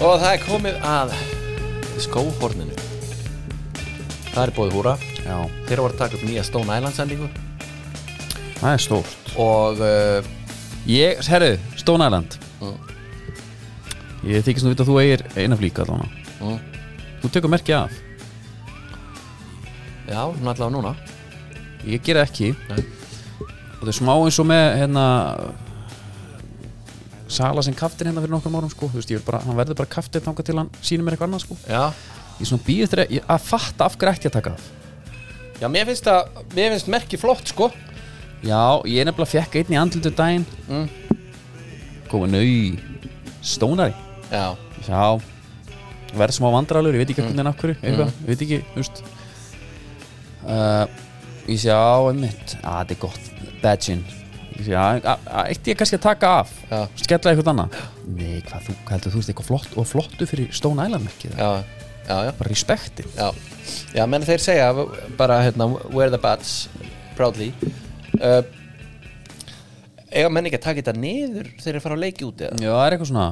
og það er komið að skóhorninu það er bóðið húra já, þeir voru að taka upp nýja Stone Island sendingu það er stórt og uh, ég, herru, Stone Island Mhm. ég þykist nú vita að þú eigir eina flíka allavega Mm. Mhm. þú tekur merki af já, hún allavega núna ég gera ekki Nei. og það er smá eins og með hérna Sala sem kaftin hérna fyrir nokkrum árum sko, þú veist, ég vil bara, hann verður bara kaftin þangað til hann sýnir mér eitthvað annað sko já, ég svona býð eftir að, ég- að fatta af hverju ætti ég að taka það já mér, finnst að, mér finnst merki flott sko Já, ég nefnilega fekk einn í andlutu daginn Mm. Góða nau Stónari Já, Já Verð smá vandralur, ég veit Mm. ekki hvernig en af hverju Eitthvað, ég veit ekki, þú veist uh, Ég sé á einmitt Já, þetta er gott Badgin Ég sé, já, a- a- eitt ég kannski að taka af Já. Skella eitthvað annað Nei, hvað þú, hvað heldur þú veist eitthvað flott og flottu fyrir Stone Island ekki já, já, já Bara respekti Já, já menn þeir segja bara hérna, wear the bats proudly uh, eiga menn ekki að taka þetta niður þegar þeir fara að leiki út eða Já, það er eitthvað svona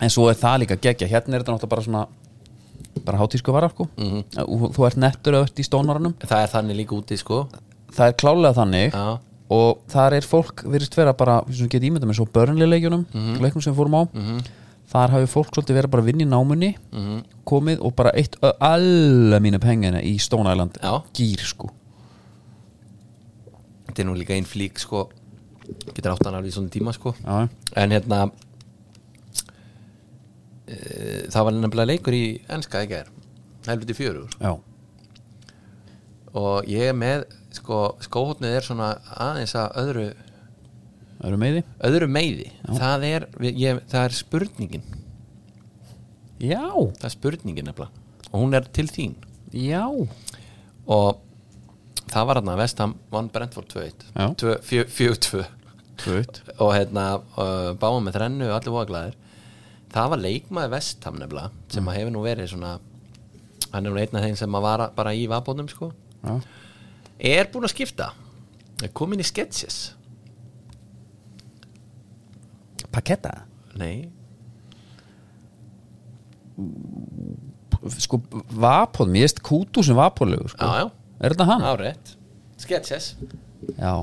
En svo er það líka geggja Hérna er þetta náttúrulega bara svona bara hátísku varar sko þú, þú ert nettur eða ert í stónvaranum það er þannig líka úti sko Það er klálega þannig já, og þar er fólk virðist vera bara, sem geti ímynda með svo börnleileikjunum mm leiknum sem við fórum á þar hafi fólk svolítið verið bara að vinna í námunni komið og bara eitt alla mínu pengina í Stone Island Já. gýr sko þetta er nú líka einn flík sko getur átt hann alveg í svona tíma sko Já, en hérna uh, það var nefnilega leikur í enska í gær helviti fjörugur já, og ég er með sko skóhóttnið er svona aðeins að öðru eru með því? öðru meiði það er, við- ég, það er spurningin Já, það er spurningin nefnilega og hún er til þín já og það var hann að vestam vann Brentford 2-1 Já. 2 4 4-2 Tvöitt og hérna uh, báum með þrennu og allir vóaglæðir það var leikmaði vestam nefnilega sem að hefur nú verið svona hann er nú einn af þeim sem að vara bara í vabónum sko Já, er búin að skipta er komin í sketches paketta nei sko vapóð, mér veist kútu sem vapóðlegur sko. já já er þetta hann? áreitt sketches já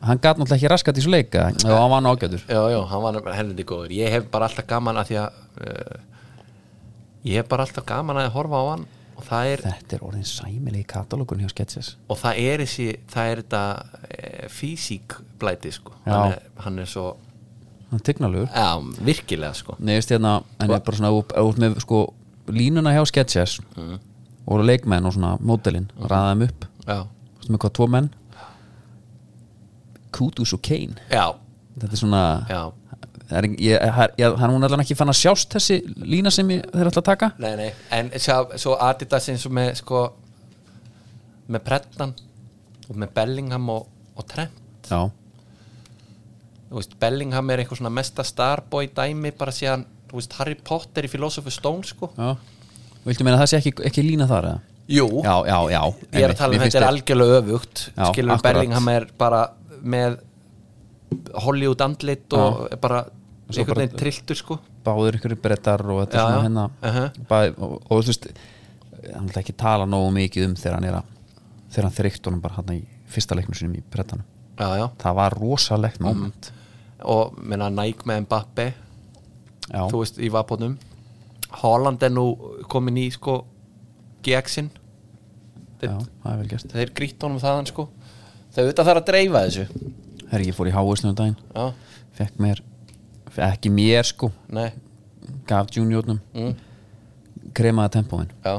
hann gat náttúrulega ekki raskat í svo leika og hann var nákvæður Já, já, hann var nefnilega helviti góður Ég hef bara alltaf gaman að því að uh, Ég hef bara alltaf gaman að horfa á hann og það er, þetta er orðin sæmileg í katalógun hjá Sketches og það er, þessi, það er þetta uh, físík blæti sko. Já. hann, er, hann er svo hann tignalugur já, virkilega sko. Nei, veist hérna, en er bara svona ef þú út með sko línuna hjá Sketches og leikmenn og svona módelin mm. ræða þeim upp, Já, Þú veist með hvað tvo menn Kutus og Kane já, þetta er svona já það er, ég, ég, ég, hann hún er allan ekki fann að sjást þessi lína sem ég, þeir ætla að taka Nei, nei, en sjá, svo Adidas eins og með sko, með Brettan og með Bellingham og, og Trent já, Þú veist, Bellingham er eitthvað svona mesta starboy dæmi bara síðan, þú veist, Harry Potter í Philosopher's Stone sko. já viltu meina að það sé ekki, ekki lína þar eða? Jú, já, já, já ég er að tala um þetta er algjörlega öfugt Já, skilur akkurat. Bellingham er bara með Hollywood andlit og er bara Svo einhvern bara- veginn trilltur sko báður ykkur brettar og þetta Já, er já. svona hérna Uh-huh. bæ, og, og, þú veist hann ætla ekki að tala nógu mikið um þegar hann er að þegar hann þreykt honum bara hann í fyrsta leiknum sinum í brettanum já, já. það var rosalegt Mhm. moment og minna Nike með Mbappe já, þú veist í vapotnum Holland er nú komin í sko GX-in já, það er vel gert þeir grýtt honum þaðan sko þau auðvitað þarf að dreifa þessu herri ég fór í háusnum daginn já, fekk mér, fe- ekki mér sko nei, gaf juniornum Mm. kremaði tempóin já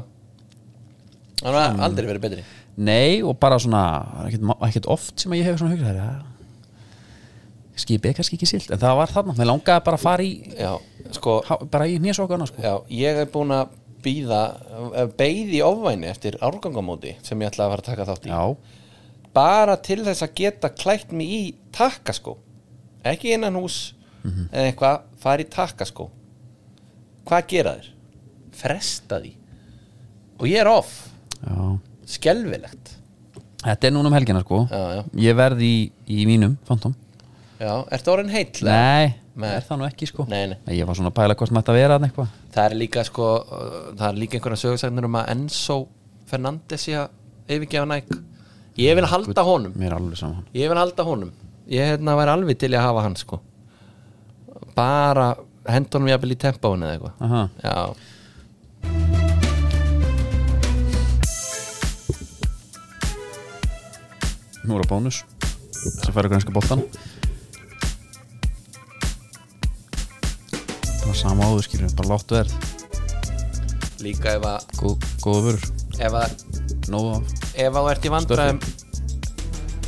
hann har aldrei verið betri Nei og bara svona það er ekkert, ma- ekkert oft sem að ég hefur svona hugsað það skipið er kannski ekki silt en það var þarna, mér langaði bara að fara í já, sko há- bara í nýjasokkana sko. Já, ég er búin að býða beigði ofvæni eftir árgangamóti sem ég ætla að fara að taka þátt í já, bara til þess að geta klætt mig í takkaskó ekki innan hús eða eitthvað, fara í takkaskó hvað gera þér? fresta því og ég er off, já skelfilegt þetta er núna um helgina sko Já, já. ég verð í, í mínum, fantom já, ertu orðin heill? nei, Nei. er það nú ekki sko Nei, nei. ég var svona að pæla hvort mætti að vera þarna eitthvað það er líka sko uh, það er líka einhverja sögursagnir um að Enzo Fernandes sé að yfirgefa næk ég vil halda honum mér er alveg saman Ég vil halda honum Ég hérna væri alveg til í að hafa hann sko Bara henda honum jafnvel í tempóinu eða eitthvað Aha. Já nú er að bónus sem færa grænska boltan það var sama áður skilur bara látt verð, Líka ef að Góð, góða vörur ef að nóg af ef að þú ert í vandræðum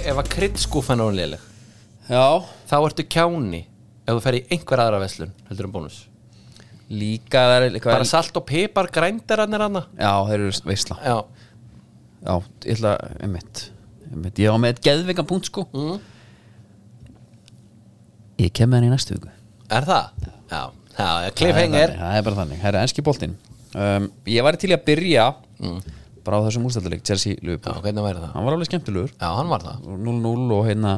ef að kryddskúfan er óléleg Já, þá ertu kjáni ef þú fer í einhver aðra veslun heldur en bónus líka það er bara salt og pipar grændarannir anna Já, þeir eru veistla já, Já, ég ætla, einmitt, einmitt Ég á með eitt geðveika punkt sko Mm. Ég kem með hann í næstu viku er það? já, já Það er cliffhanger þannig, Það er bara þannig, það er enski boltinn um, Ég var til í að byrja bara á þessum úrstættuleik Chelsea já, Liverpool hvernig væri það? Hann var alveg skemmtilegur já, hann var það 0-0 og hérna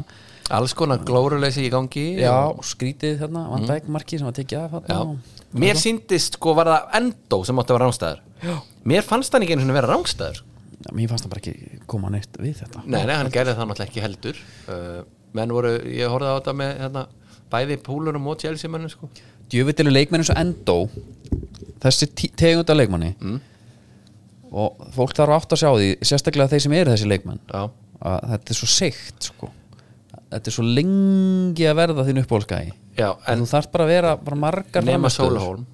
alls konar glóruleysi í gangi Já, skrítið þarna, Van Dijk markið sem var tekið af þarna Já. og- mér síndist sko var það endó sem átti að vera rángstæður mér fannst hann ekki einu svona vera rángstæður Já, Mér fannst það bara ekki koma neitt við þetta nei, nei, hann gerði það náttúrulega ekki heldur uh, menn voru, ég horfði á þetta með hérna, bæði púlurum og Chelsea mönnum sko. djöfitt eru leikmennin svo endó þessi tí- tegund af leikmanni Mm. og fólk þarf að átt að sjá því sérstaklega þeir sem eru þessi leikmenn já, að þetta er svo seikt sko. þetta er svo lengi að verða þín uppbólskæði já, en en þú þarf bara að vera bara margar nema frammistöður. Sólhólm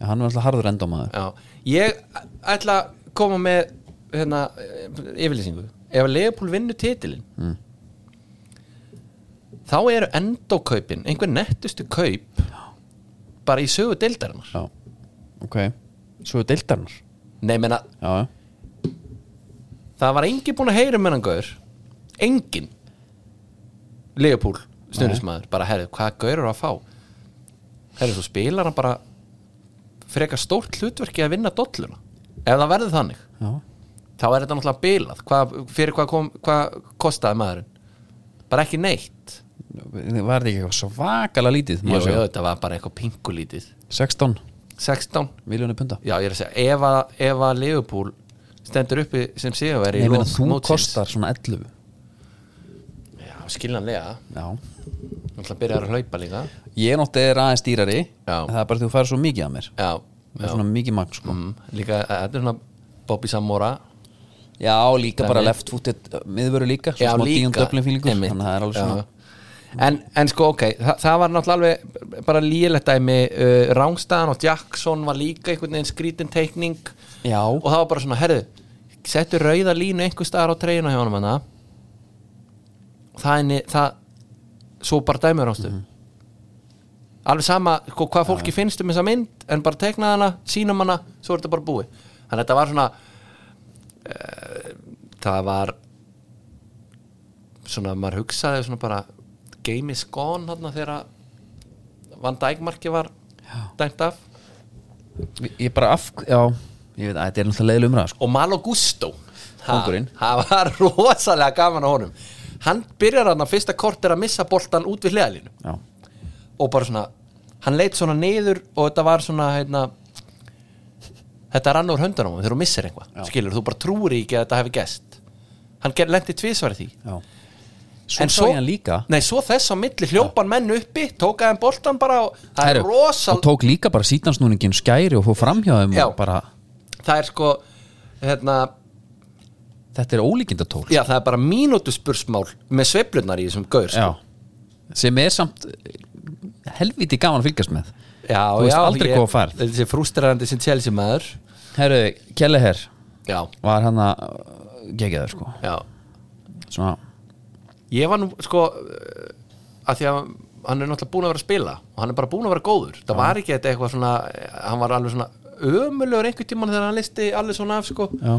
Já, hann var alltaf harður endómaður já, ég ætla að koma með hérna, eh, yfirlýsingu ef að Leopold vinnur titilin þá eru endókaupin einhver nettustu kaup bara í sögu deildarinnar já, ok svo er deildarnar nei, menna, já, já. það var engin búin að heyra um hennan gaur engin Leopold, snurðismæður bara herrið, hvað gaur eru að fá herrið, svo spilar hann bara frekar stórt hlutverki að vinna dolluna ef það verður þannig já. þá er þetta náttúrulega bilað hvað, fyrir hvað, kom, hvað kostaði maðurinn bara ekki neitt var þetta ekki eitthvað svakalega lítið má Jú, sjá? jú, þetta var bara eitthvað pinkulítið 16 16, miljónir punda já ég er að segja ef að, ef að Liverpool stendur uppi sem sigurveri Nei, ég meina, þú kostar svona 11 já, skiljanlega, já náttúrulega byrjar að hlaupa líka Ég náttúrulega er aðeins dýrari Já. en Það er bara því þú færi svo mikið að mér já, Það er svona mikið magn sko mm, líka, eh, þetta er svona Bobby Samora Já, líka bara Þannig. left footed uh, miðvöru líka Svo smá díum döflin fílingur einmitt. Þannig að það er alveg Já. svona en, en sko, ok, þa það var náttúrulega alveg bara lýjulegt dæmi uh, Rángstaðan og Jackson var líka einhvern veginn skrítin teikning Já, og það var bara svona, herðu, settu rauða línu einhver staðar á treyjuna hjá honum hana og það er ni- það, svo bara dæmur ástu alveg sama sko, hvað fólki finnst um þessa mynd en bara tekna hana, sínum hana, svo er þetta bara búið þannig að þetta var svona uh, það var svona maður hugsaði svona bara game is gone þarna þegar að Van Dijk marki var dæmt af ég bara af Já, ég veit að þetta er náttúrulega leiðileg umræða sko og Malo Gusto Ha, Kóngurinn. það var rosalega gaman á honum hann byrjar hann að fyrsta kort er að missa boltan út við hliðalínu Já, og bara svona, hann leit svona niður og þetta var svona heitna, þetta rann úr höndunum á honum þegar þú missir Já. eitthvað, skilur, þú bara trúir ekki að þetta hefði gest hann ger- lenti tvisvar í því já Svo sá ég hann líka nei, svo þess á milli hljópan menn uppi tókaði hann boltan bara og það er Heyrðu, rosal Og tók líka bara sítansnúningin skæri og fór framhjáðum Já. og bara það er sko hérna, Þetta er ólíkindatól já, það er bara mínútuspursmál með sveiflunar í þessum gaur sko. Já Sem er samt eh, helviti gaman að fylgjast með já, Þú veist já, aldrei ég- hvað þú færð. Þetta er frústrarandi sem Chelsea maður Herru, Kelleher Já, var hann að gegja þau sko já Svona Ég var nú, sko að því að hann er náttúrulega búin að vera að spila og hann er bara búin að vera góður það var ekki þetta eitthvað svona, eh, hann var alveg svona ömulegur einhvern tímann þegar hann listi allir svona af, sko Já,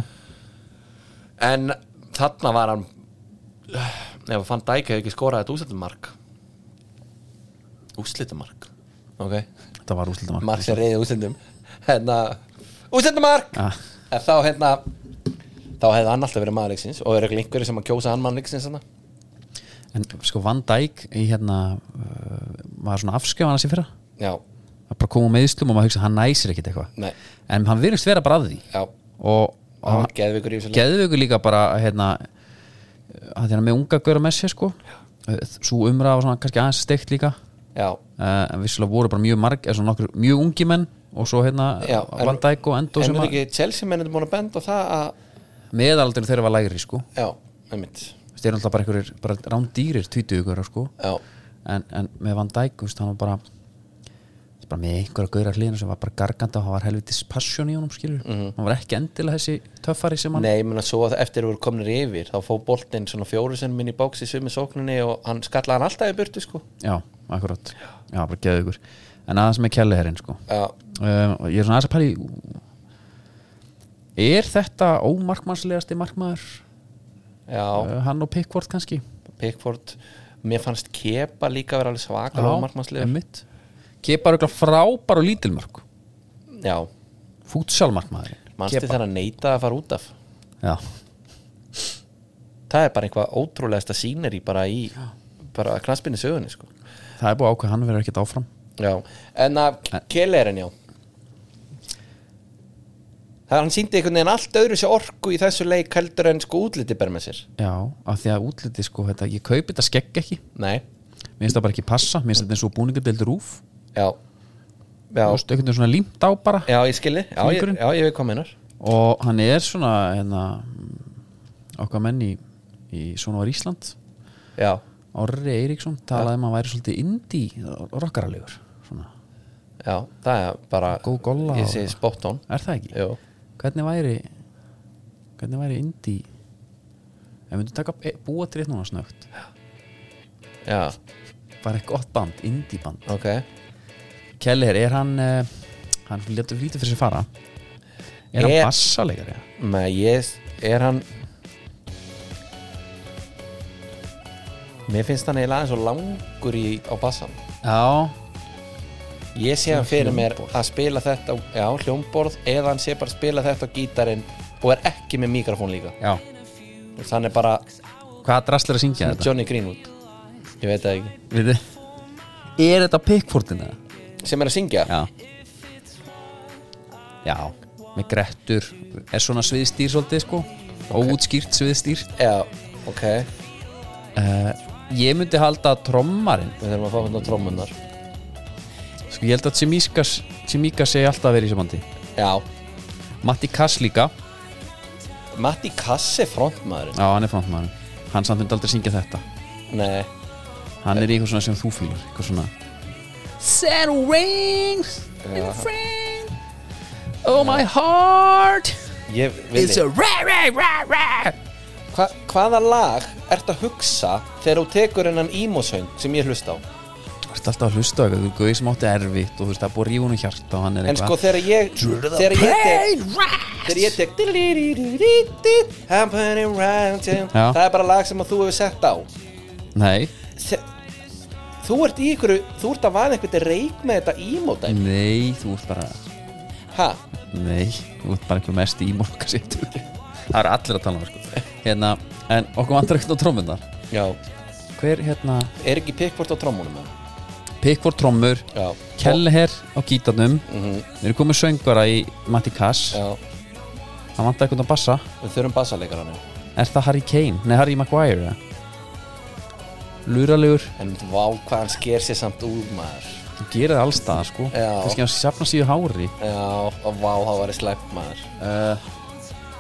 en þarna var hann eh, ef að fann dæk hefði ekki skorað þetta úslitumark úslitumark ok, þetta var úslitum mark sem reyði úslitum hérna, úslitumark Já, En þá hérna þá hefði hann alltaf verið maður leiksins og er ekki einhverju sem að kjósa hann maður leiksins hann en sko Van Dijk í hérna uh, var svona afskjöf hann að sér fyrra Já, að bara koma með íslum og maður hugsa hann næsir ekkit eitthvað nei, en hann virðist vera bara að því já og, hann og var geðvikur í þessu leik geðu ykkur líka bara hérna að hérna með unga gauður með sér sko svo umræða var svona kannski aðeins steikt líka Já, uh, en vissulega voru bara mjög marg eða svona nokkur mjög ungi menn og svo hérna Já, en- Van Dijk og Endo en sem er að ekki Chelsea mennir búin að benda á það að meðaldur þeirra var lægri sko Já, einmitt þeir eru alltaf bara einhverjir bara rándýrir 20 ykkur sko Já, en, en með Van Dijk þú veist, hann var bara bara með einhverja gauðra hliðina sem var bara garganda og hann var helvitis passion í honum skilur hann var ekki endilega þessi töffari sem hann Mhm. Nei, ég meina svo að eftir að voru komnir yfir þá fó boltinn svona fjóru sem minn í bóks í sömu sókninni og hann skallaði hann alltaf í burtu sko já, akkurat, já, bara geðu ykkur en aðeins með kjalliherrin sko Já, um, og ég er svona aðeins að pæli er þetta ómarkmannslegasti markmaður já, uh, hann og Pickford kannski Pickford Mér fannst Kepa líka vera alveg svakar Já, og markmannslegur einmitt. Kepa er eitthvað frábær og lítilmörk Já, fútsalmarkmaður mannstu þegar hann neitaði að fara út af já, Það er bara einhvað ótrúlegasta sýneri bara í bara knaspinni sögunni sko það er búið ákveð hann verður ekkert áfram Já, en að Kjellerin já Það hann síndi einhvern veginn allt öðru sér orku í þessu leik heldur en sko útliti ber með sér já, af því að útliti sko þetta, ég kaupi þetta skegg ekki Nei, mér finnst það bara ekki passa, mér finnst þetta eins og búningadeild rúf, já þú Já, veist, einhvern veginn svona límt á bara já ég skilji, já, ég- Flingurinn. já ég veit hvað meinar og hann er svona hérna, okkar menn í, í svona var Ísland Já, Orri Eiríksson talaði um að hann væri svolítið indi rockaralegur svona. já, það er bara Góð golla Ég og- segi spot on er það ekki? Jú. hvernig væri hvernig væri indi ef við myndum taka e, búa til eitt núna snögt Já, bara eitt gott band, indi band ok Kellir, er hann uh, hann letur lítið fyrir sér fara er Er- hann bassalegari? Með ég, er hann Mér finnst hann eiginlega aðeins og langur í, á bassan já, Ég sé hann fyrir mér að spila þetta á- Já, hljómborð Eða hann sé bara að spila þetta á gítarinn Og er ekki með mikrofón líka já Þannig hann er bara hvað drastlar að syngja þetta? Johnny Greenwood Ég veit það ekki Við, er þetta hérna? Pickfordina? Sem er að syngja Já Já, með grettur er svona sviðstýr svolítið sko óútskýrt sviðstýr Já, ok uh, Ég myndi halda að trommarinn Við þurfum að fá hérna hann á trómunnar sko ég held að Tsimikas Tsimikas segi alltaf að vera í samandi Já, Matti Kass líka, Matti Kass er frontmaðurinn já hann er frontmann hann samt myndi aldrei syngja þetta Nei, hann er í eitthvað svona sem þú fýlar eitthvað svona Send rings in the frame Oh my heart ég It's vilji a rah rah rah rah Hva, Hvaða lag ert að hugsa Þegar þú tekur hennan ímósöng Sem ég hlusta á Þú ert alltaf að hlusta á eitthvað, þú gauði sem átti erfitt og þú veist það er búið að rífa hún í hjarta og hann er En sko eitthvað þegar ég Þegar ég tek Þegar ég tek Dililililililil, I'm putting round to- Já. Það er bara lag sem að þú hefur sett á Nei, Þe- Þú ert í ykkur Þú ert að vaða einhvern reik með þetta ímóta nei, þú ert bara Ha? Nei, þú ert bara einhver mest ímorka sittur Það eru allir að tala um það sko Hérna, en okkur vantar ekkert á trommunar Já Hver, hérna, Er ekki pikkvort á trómunum eða? Pickford trommur Já Kelleher á gítarnum Við erum komið söngvara í Matti Kass Já Það vantar eitthvað að bassa Við þurfum bassaleikar hann Er það Harry Kane? Nei, Harry Maguire eða? Luralegur En vá hvað hann sker sér samt úr maður Þú gerir það allstaðar sko Já. Kannski hann safna síðu hári Já Og vá það var í slæmt maður uh,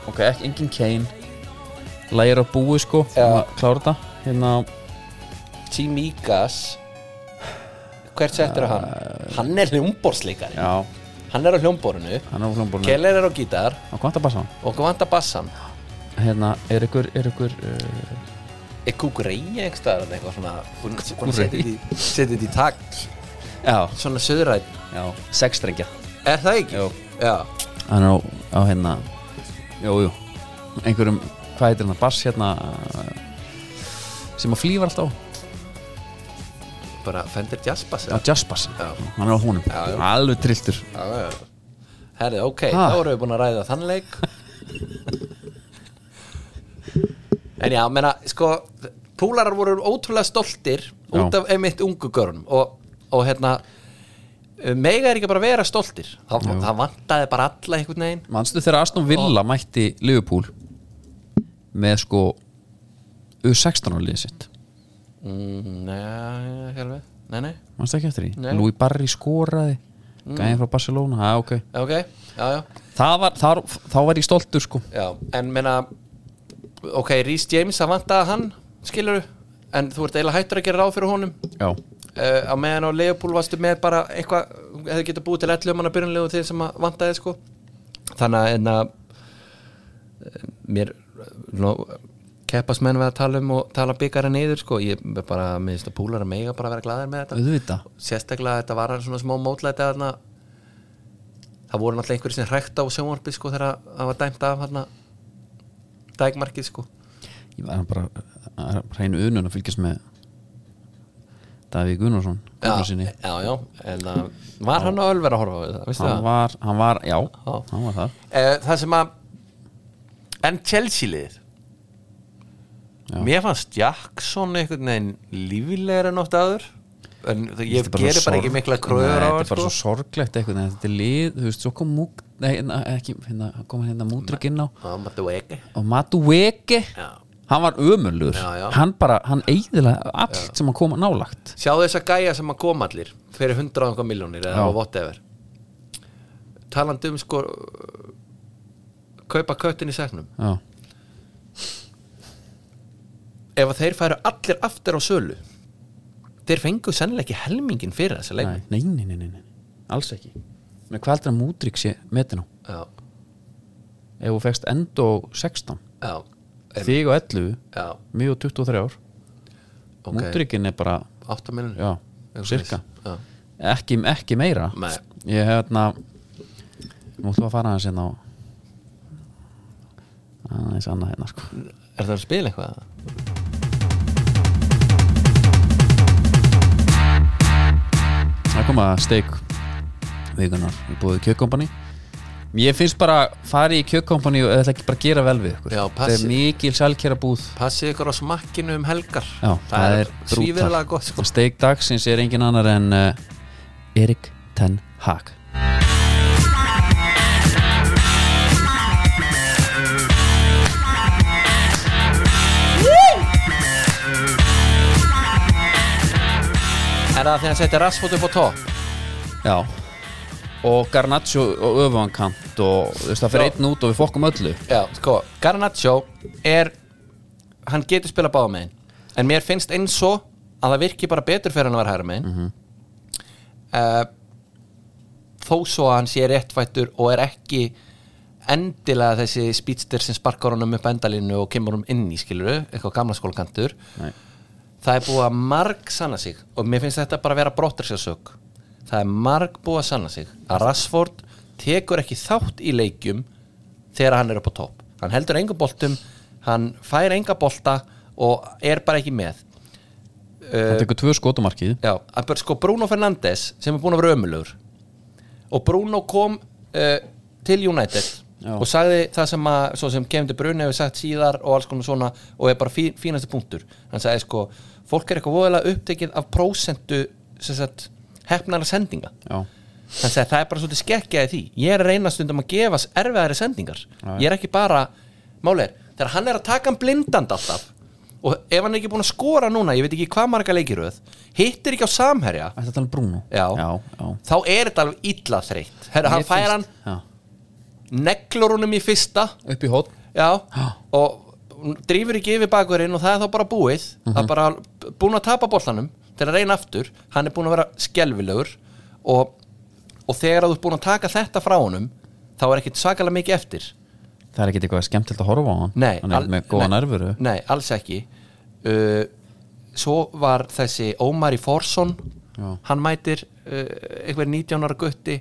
ok, ekki, engin Kane lægir á búi sko Já. um að klára þetta hérna, Tímíkas Hvert settur á hann? Hann er hljómborsleikari já, Hann er á hljómborinu hann er á hljómborðinu Keller er á gítar og hvað það bara saman og okkur vantar bassan hérna, er ykkur, er ykkur uh, er kúkureyja einhverstaðar eitthvað svona Kúkurey. setið þetta í takt já, svona söðrætt já, sexstrengja er það ekki? Jú. já hann er á, á hérna jú, jú, einhverjum hvað heitir hérna, bass hérna eh, sem að flývar alltaf á bara Fender Jazz Bass á jazzbass, Já. hann er á honum Já, já. alveg trilltur herrið ok Ha. þá erum við búin að ræða þann leik en já menna sko púlarar voru ótrúlega stoltir út Já. af einmitt ungu görunum og, og hérna mega er ekki bara að vera stoltir það, Jú. það vantaði bara alla einhvern veginn Manstu þegar Aston Villa mætti Liverpool með sko U16 á liðið sitt mm, nei, helveg nei, nei Manstu ekki eftir því? Nei. Mm. Louis Barry skoraði gæðin frá Barcelona, ha, ok Ok, já, já, það var, þar, Þá var ég stoltur sko já. En meina Ok, Rhys James, það vantaði hann Skilur En þú ert eiginlega hættur að gera ráð fyrir honum Já, uh, á meðan á Leopold varstu með bara eitthvað, hefði getað búið til 11 manna byrjunlegu þeir sem að vantaði sko þannig að enna, mér no, keppast menn við að tala um og tala byggara niður sko, ég er bara minnst að púlar að mega bara vera glaðir með þetta auðvita sérstaklega þetta var hann svona smá mótlæti þarna það voru náttúrulega einhverjir sem hrækta á sjónvarpi sko þegar það var dæmt af hann dækmarkið sko ég var bara það er hreinu unun að fylgjast með Davík Gunnarsson já, Gunnarssyni. já, já, en að, var hann á Ölver að horfa á þetta, visstu hann það? var, hann var, já, Já. hann var þar Eh, Það sem að en Chelsea liðir Já. mér fannst Jackson einhvern veginn lífilegur en oft aður en það- ég Þetta er gerir svo bara sorg- ekki mikla kröður Nei, á þetta hann er bara sko. svo sorglegt eitthvað en þetta er lið, þú veist, svo kom múk nei, na, ekki, hérna, kom hérna mútrygg inn á Já, maður þú ekki og Matu Weke Já. hann var ömulur, Já, já. hann bara hann eigðilega allt sem hann kom nálagt Sjá þess að gæja sem að koma allir fyrir 100 og miljónir eða Já. whatever talandi um sko kaupa köttin í segnum já, ef að þeir færu allir aftur á sölu þeir fengu sennilega ekki helmingin fyrir þessi nei, leikmenn nei, nei, nei, nei, nei alls ekki, með hvað heldur að mútrygg sé metin á, já, ef þú fegst endo 16, já, þig og 11 já, mjög og 23 ár ok okay. mútryggin er bara, 8 miljonir já, cirka já, ekki, ekki meira Nei. ég hef hérna nú ætlum við að fara aðeins hérna á aðeins annað hérna sko er það að spila eitthvað? það kom að steik vikunar í búið kjökkompani ég finnst bara farið í kjökkompani og þetta ekki bara gera vel við ykkur Já, það passið. er mikil sælkjara búð passið ykkur á smakkinu um helgar Já, það, er svífirlega brútal. gott sko. steik dagsins er engin annar en uh, Erik Ten Hag er það þegar að setja rassfót upp á topp? já og Garnaccio og öfumkant og þú veist það fyrir Já. einn út og við fokkum öllu Já, sko, Garnaccio er hann getur spila báða megin en mér finnst eins og að það virki bara betur fyrir hann að vera hæra megin mm þó svo að hann sé réttfættur og er ekki endilega þessi spýtstir sem sparkar honum upp endalínu og kemur honum inn í skiluru eitthvað gamla skólakantur Nei. það er búið að marg sanna sig og mér finnst þetta bara að vera brottur sér sög það er marg búið að sanna sig að Rassford tekur ekki þátt í leikjum þegar hann er upp á topp hann heldur enga boltum, hann fær enga bolta og er bara ekki með Eh. það tekur tvö skotumarkið Já, að bara sko Bruno Fernandes sem er búin að vera ömulugur og Bruno kom uh, til United Já. og sagði það sem að svo sem Kevin De Bruyne hefur sagt síðar og alls konar svona og er bara fí, fínasti punktur hann sagði sko, fólk er eitthvað voðalega upptekið af prósentu sem sagt, hefnara sendinga já hann sagði það er bara svolítið skekkjaði því ég er að reyna stundum að gefast erfiðari sendingar ég er ekki bara, máli er þegar hann er að taka hann blindand alltaf og ef hann er ekki búin að skora núna ég veit ekki hvað marga leikiröð hittir ekki á samherja Ætti að tala um Bruno já, já, já. þá er þetta alveg illa þreytt Herra, hann Mér fær hann, finnst- já. neglur honum í fyrsta upp í hótt já, Já. og hún drífur ekki yfir bakurinn og það er þá bara búið það Mhm. er bara búin að tapa boltanum til að reyna aftur, hann er búin að vera skelvilegur og, og þegar að þú er búin að taka þetta frá honum þá er ekkit svakalega mikið eftir það er ekkit eitthvað skemmtilegt að horfa á hann nei, hann er al- með góða nei, nervuru nei, alls ekki uh, svo var þessi Ómari Forsson Já. hann mætir uh, einhver 19 ára gutti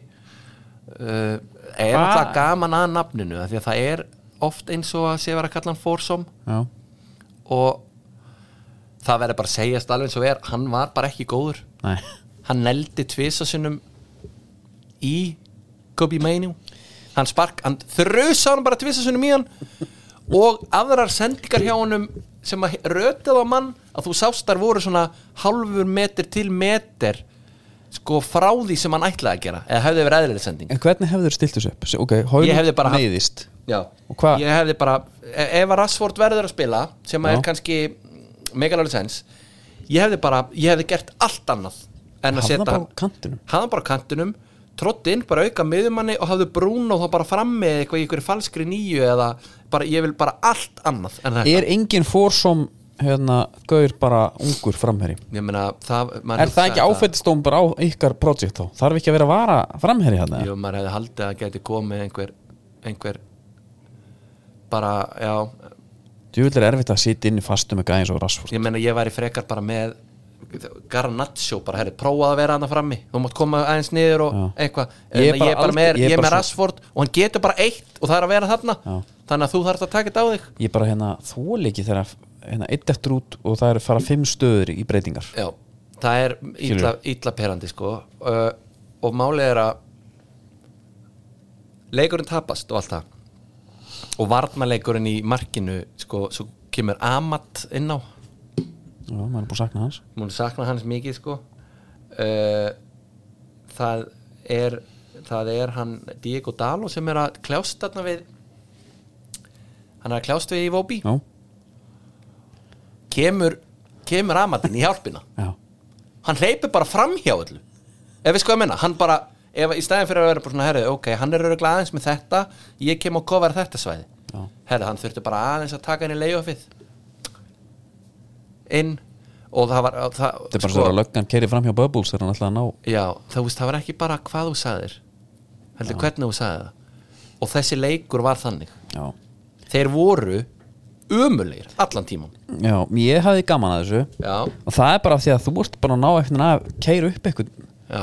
uh, er alltaf gaman að nafninu af því að það er oft eins og að sé vera að kalla hann Forsson já, og það verður bara að segjast alveg eins og er hann var bara ekki góður nei hann neldi tvisasinnum í Kobe Mainu hann spark, hann þrjusa hann bara tvisasinnum í hann og aðrar sendingar hjá honum sem að rötið á mann að þú sást þar voru svona hálfur meter til meter sko frá því sem hann ætlaði að gera eða hefði verið eðlileg sending en hvernig hefur þeir stilt þessu upp? Se- ok, Ég hefði bara Hólm haft- meiðist Já, Og hvað- ég hefði bara e- ef að Rassford verður að spila sem að Já. er kannski megalega sens ég hefði bara, ég hefði gert allt annað en að Hafði setja hann bara á kantinum? hafði hann bara á kantinum, trotti inn bara auka miðumanni og hafði brún og þá bara frammi eitthvað í einhverju falskri nýju eða bara, ég vil bara allt annað en þetta er engin fórsóm hérna, gaur bara ungur framherri Ég meina, það maður Er það hugsar ekki áfættistóm bara á ykkar projekt þá? Þarf ekki að vera að vara framherri hérna? Jú, maður hefði haldið að geti komið einhver, einhver bara, já Djúvill er erfitt að sitja inn í fastu með gæðins og rassfór ég meina, ég væri frekar bara með Garnaccio, bara herri, prófaði að vera hann frammi þú mátt koma aðeins niður og Já. eitthvað Ég er En bara ég er bara aldrei- með, ég er ég er bara með svo- Rashford og hann getur bara eitt og það er að vera þarna Já. þannig að þú þarfst að taka þetta á þig Ég bara hérna þóli ekki þegar hérna, eitt eftir út og það eru fara fimm stöður í breytingar Já, það er illa, illa perandi sko uh, og málið er að leikurinn tapast og allt það og varnarleikurinn í markinu sko, svo kemur Amat inn á Já, maður er búin að sakna hans múin sakna hans mikið sko uh, það er það er hann Diego Dalo sem er að kljást þarna við hann er að kljást við í Vóbi Já, kemur, kemur Amatinn í hjálpina já, hann hleypur bara fram hjá öllu ef við sko að menna, hann bara ef, í stæðin fyrir að vera bara svona, herri, ok, hann er öruglega aðeins með þetta, ég kem og kofar þetta svæði Já. herri, hann þurfti bara aðeins að taka hann í layoffið inn og það sko, var og það, þetta er bara svo að löggan keiri fram hjá Bubbles þegar hann ætlaði að ná já, það, veist, það var ekki bara hvað þú sagðir heldur hvernig þú sagði það og þessi leikur var þannig Já, þeir voru ömulegir allan tíman já ég hafði gaman að þessu já, og það er bara af því að þú ert bara að ná eitthvað að keira upp eitthvað, já,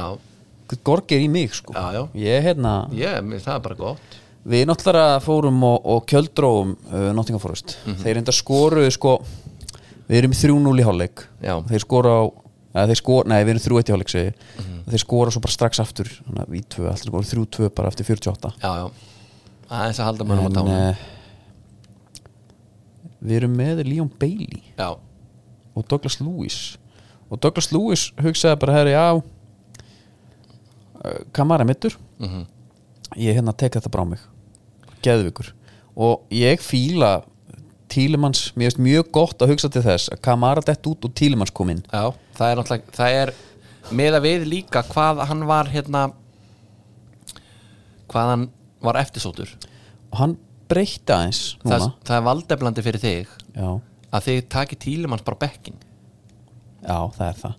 eitthvað gorgir í mig sko. Já, já. Ég hérna, ég, mér- það er bara gott við náttúrulega fórum og, og kjöldróum uh, Nottingham Forest Mhm. þeir enda skoruðu sko við erum í 3-0 í hálfleik Já. þeir skora á Eða, þeir skora, nei, við erum 3-1 í hálfleik segi ég. Mhm. þeir skora svo bara strax aftur þannig að í 2, alltaf skora 3-2 bara eftir 48 já, já, aðeins að halda mönnum á en tánum uh, við erum með Leon Bailey Já, og Douglas Lewis og Douglas Lewis hugsaði bara herri já eh, kamara mittur Mhm. ég hérna tek þetta bara á mig geðvikur og ég fíla Tílimanns, mér finnst mjög gott að hugsa til þess að Kamara dett út og Tílimanns kom inn já, það er náttúrulega það er með að við líka hvað hann var hérna hvað hann var eftirsótur og hann breytti aðeins það, núna það er valdeflandi fyrir þig já, að þið taki tílumanns bara bekkin já, það er það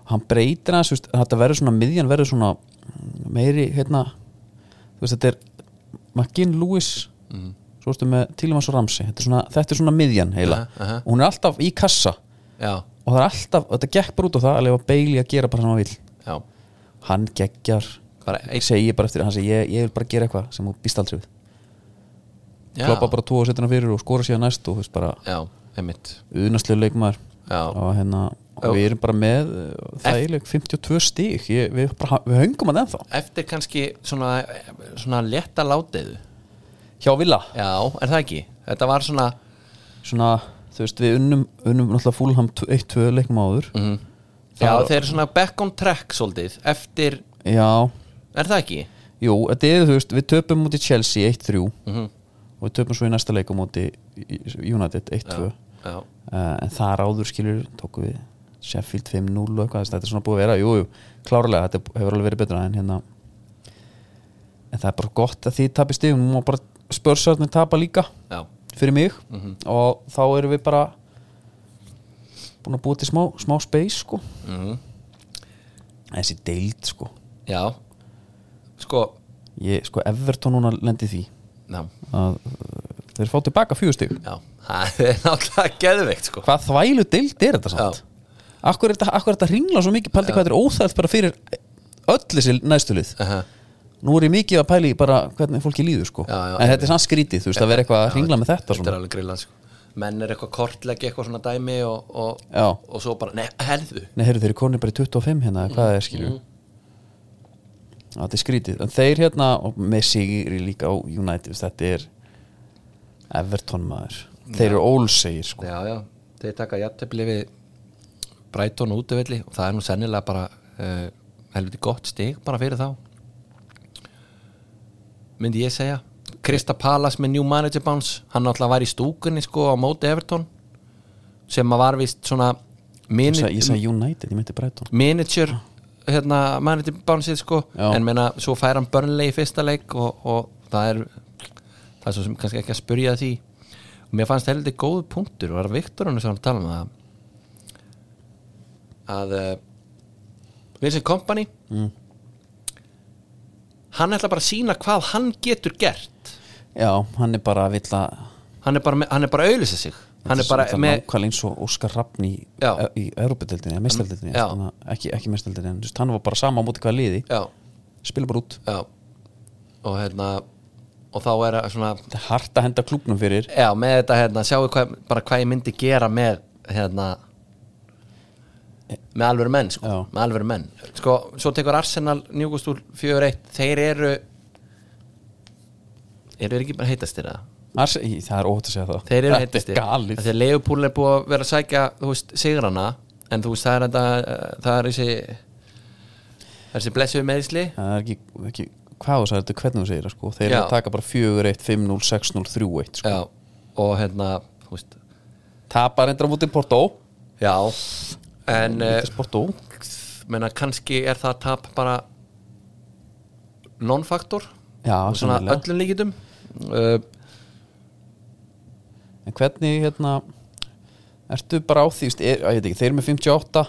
og hann breytir aðeins, þú veist, þetta verður svona miðjan verður svona mm, meiri hérna, þú veist, þetta er McGinn Lewis Mhm. svo ertu með Tílimanns og Ramsey þetta er svona, þetta er svona miðjan heila Aha, aha. og hún er alltaf í kassa Já, og það er alltaf, þetta gekk bara út á það að lefa Bailey að gera bara sem hann vill já, hann geggjar bara ég eitt segi bara eftir, hann segi ég, ég vil bara gera eitthvað sem þú býst aldrei við já, kloppa bara tvo og setja hana fyrir og skora síðan næst og þú veist bara Já, einmitt uðnastlegu leikmaður Já. og hérna og við erum bara með uh, þægileg 52 stík ég, við, bara, við höngum hann ennþá Eftir kannski svona, svona létta látiðu hjá Villa Já, er það ekki? Þetta var svona svona þú veist við unnum, unnum náttúrulega fúlham 1-2 leikum áður Mhm. mm -hmm. Já, þeir eru svona back on track svolítið Eftir, já er það ekki? Jú, þetta er þú veist, við töpum múti Chelsea 1-3 Mhm. og við töpum svo í næsta leikum múti United 1-2 Já, uh, en þar áður skilur tóku við Sheffield 5-0 og eitthvað þess að þetta er svona búið að vera, jú, jú klárlega, þetta hefur alveg verið betra en hérna en það er bara gott að því tapir stigum og bara spörsarnir tapa líka já, fyrir mig og þá erum við bara búin að búið til smá, smá space sko Mhm. en þessi deild sko já Sko, ég, sko Everton núna lendi því já að uh, þeir fá tilbaka fjögur stig Já, það er náttúrulega geðveikt sko hvað þvælu deild er þetta samt Já. akkur er þetta, akkur er þetta ringla svo mikið pældi hvað þetta er óþægt bara fyrir öll þessi næstulið Aha. nú er ég mikið að pæli bara hvernig fólki líður sko Já, já, en einmitt. þetta er sann skrítið, þú veist, að vera eitthvað að ringla með þetta Þetta er svona. alveg grillað sko Menn er eitthvað kortleggi eitthvað svona dæmi og, og, Já. og svo bara, nei, herðu nei, heyrðu, þeir eru konir bara í 25 hérna eða hvað það er skilju Mhm. þetta er skrítið, en þeir hérna og með sigri líka á United þetta er Everton maður þeir eru ólsegir sko Já, já, þeir taka jættefli við Brighton og útivilli og það er nú sennilega bara uh, helviti gott stig bara fyrir þá myndi ég segja Krista Palas með New Manager Bounce hann náttúrulega var í stúkunni sko á móti Everton sem að var vist svona ég mini- sagði, ég sagði United, ég meinti Brighton manager hérna, manager bánsið sko Já. en meina, svo fær hann Burnley í fyrsta leik og, og það er það er svo sem kannski ekki að spurja því mér fannst heldur góð punktur var Viktor hann sem var að tala um að að uh, Vincent Kompany Mm. hann ætla bara að sína hvað hann getur gert já, hann er bara að vill að hann er bara, með, hann er bara að auðlýsa sig hann er bara með nákvæmlega eins og Óskar Rappn í, e- Já. í Európa-deildinni, eða meistaldildinni Já. ekki, ekki meistaldildinni, en þú veist, hann var bara sama á móti hvað liði, já, spila bara út já. og hérna og þá er að svona þetta er hart að henda klúknum fyrir já, með þetta hérna, sjáu hvað, bara hvað ég myndi gera með hérna með alvöru menn sko, Já. með alvöru menn sko, svo tekur Arsenal Newcastle 4-1, þeir eru eru þeir ekki bara heitastir það? Ars, í, það er óhætt að segja það Þeir eru þetta heitastir, er galið þegar Leopold er búið að vera að sækja, þú veist, sigrana en þú veist, það er þetta eh, það er þessi það er þessi blessuð meðisli það er ekki, ekki hvað þú sagði þetta, hvernig þú segir það sko þeir eru Já. að taka bara 4-1, 5-0, 6-0, 3-1 sko. já, og hérna, þú veist tapar endur á móti Porto já, en eh, Vítis Porto, menna kannski er það tap bara non-faktor já, svona sannlega. öllum líkitum uh, en hvernig hérna ertu bara á því, veist, er, að, ég veit ekki, þeir eru með 58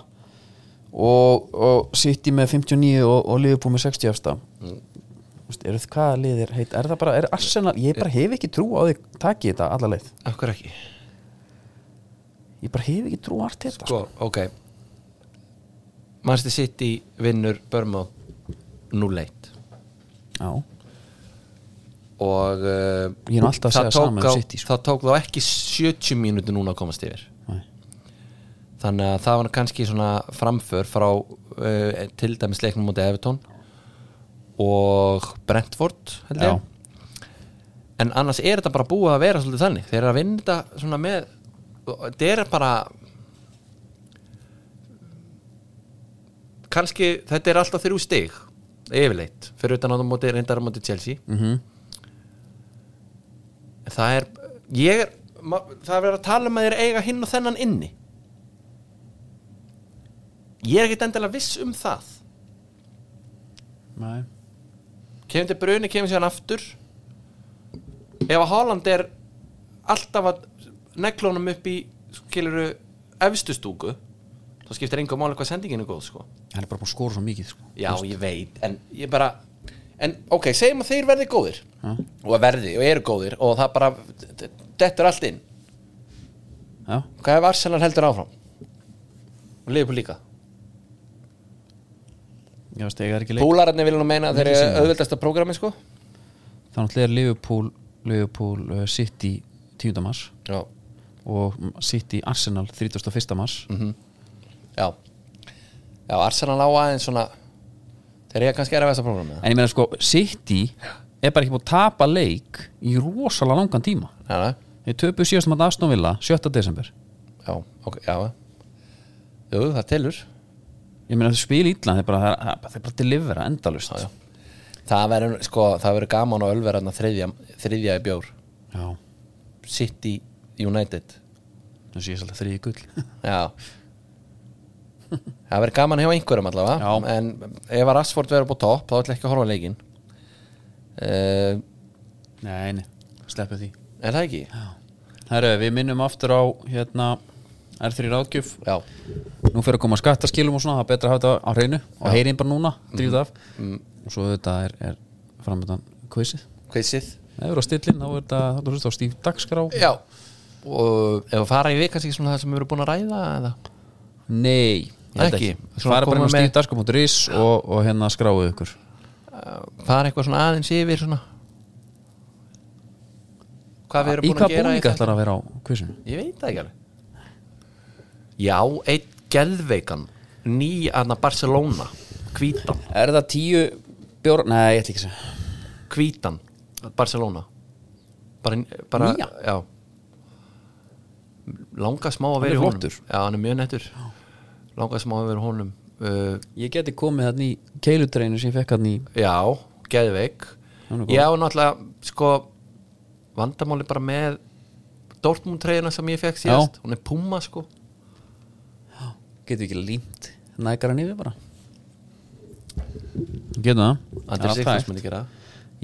og, og City með 59 og, og Liverpool með 60 efsta mm. veist, eru þið hvaða liðir heit, er það bara, er Arsenal, ég Eh. bara hef ekki trú á því taki þetta alla leið, af hverju ekki ég bara hef ekki trú á allt þetta, sko, ok Manchester City vinnur Börmóð 0-1 já, og uh, Ég er nú alltaf að segja sama um á, City, sko. það tók þá ekki 70 mínúti núna að komast yfir Nei. þannig að það var kannski svona framför frá uh, til dæmis leiknum mútið Evertón og Brentford held Já. ég en annars er þetta bara búið að vera svolítið þannig þeir eru að vinna þetta svona með þetta er bara kannski þetta er alltaf þrjú stig yfirleitt, fyrir utan á móti reyndar á móti Chelsea mhm En það er ég er ma- það er verið að tala um að þeir eiga hinn og þennan inni ég er ekkert endilega viss um það Nei. kemur til bruni, kemur síðan aftur ef að Haaland er alltaf að neglónum upp í skiluru efstu stúku þá skiptir engum máli hvað sendingin er góð sko. hann er bara búin að skora svo mikið sko. já, ég veit, en ég bara en ok, segjum að þeir verði góðir og að verði, og eru góðir og það bara, dettur allt inn já, Hvað ef Arsenal heldur áfram? Og Liverpool líka ég veist, ég er ekki leik Púlararnir vilja nú meina að þeir eru auðvöldasta prógrami sko þá náttúrulega er Liverpool, Liverpool uh, City 10. mars Já og City Arsenal 31. mars Já, Já Arsenal á aðeins svona Þeir eru kannski erfæsta prógrami en ég meina sko, City er bara ekki búin að tapa leik í rosalega langan tíma Já, þeir töpu síðast maður Aston Villa 7. desember já, ok, já Jú, það telur ég meina þau spila illa, þeir bara, það er- þeir bara delivera endalust Já, já. Það verður sko, það verður gaman á ölverðarna þriðja, þriðja í bjór já, City United það sé ég svolítið þriði gull Já Það verður gaman hjá einhverjum allavega Já. En ef að Rashford verður búið topp þá ætla ég ekki að horfa á leikinn uh, nei, nei, sleppu því Er það ekki? Herru, við minnum aftur á hérna R3 ráðgjöf Já, nú fyrir að koma skattaskilum og svona það er betra að hafa þetta á hreinu og heyrin bara núna, drífðu það af og svo þetta er, er framöndan quizið quizið ef þú eru á stillin, þá er þetta þá er þetta á stíf dagskrá Já Og ef að fara í við kannski svona það sem við erum búin að ræða eða? nei, ég held Ekki. fara Svona bara koma inn á með- stíf dagskrá.is og, og hérna skráðu ykkur Uh, Fara eitthvað svona aðeins yfir svona Hvað við erum í búin að hvað gera búning þetta? ætlar að vera á quizinu? Ég veit það ekki alveg Já, einn geðveikan Ný aðna Barcelona Hvítan, er það tíu bjór, nei, ég ætla ekki að segja hvítan Barcelona bara, bara, Nýja? Já Langa smá að Hann er vera í honum flottur. Já, hann er mjög nettur Langa smá að vera í honum uh, ég geti komið þarna í keilutreinu sem ég fekk þarna í Já, geðveik Hún er góð. Ég á náttúrulega sko vandamáli bara með Dortmund treyjuna sem ég fekk síðast hún er púma sko getur ekki límt nægar hann yfir bara getur það Það er Andri allt Sigfús hægt. myndi gera það.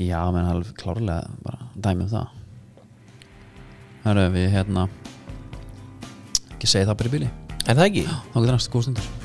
Já, menn alveg klárlega bara dæmi um það Herru, við hérna Ekki segi það bara í bíli En það ekki? Þá getur næstu góð stundur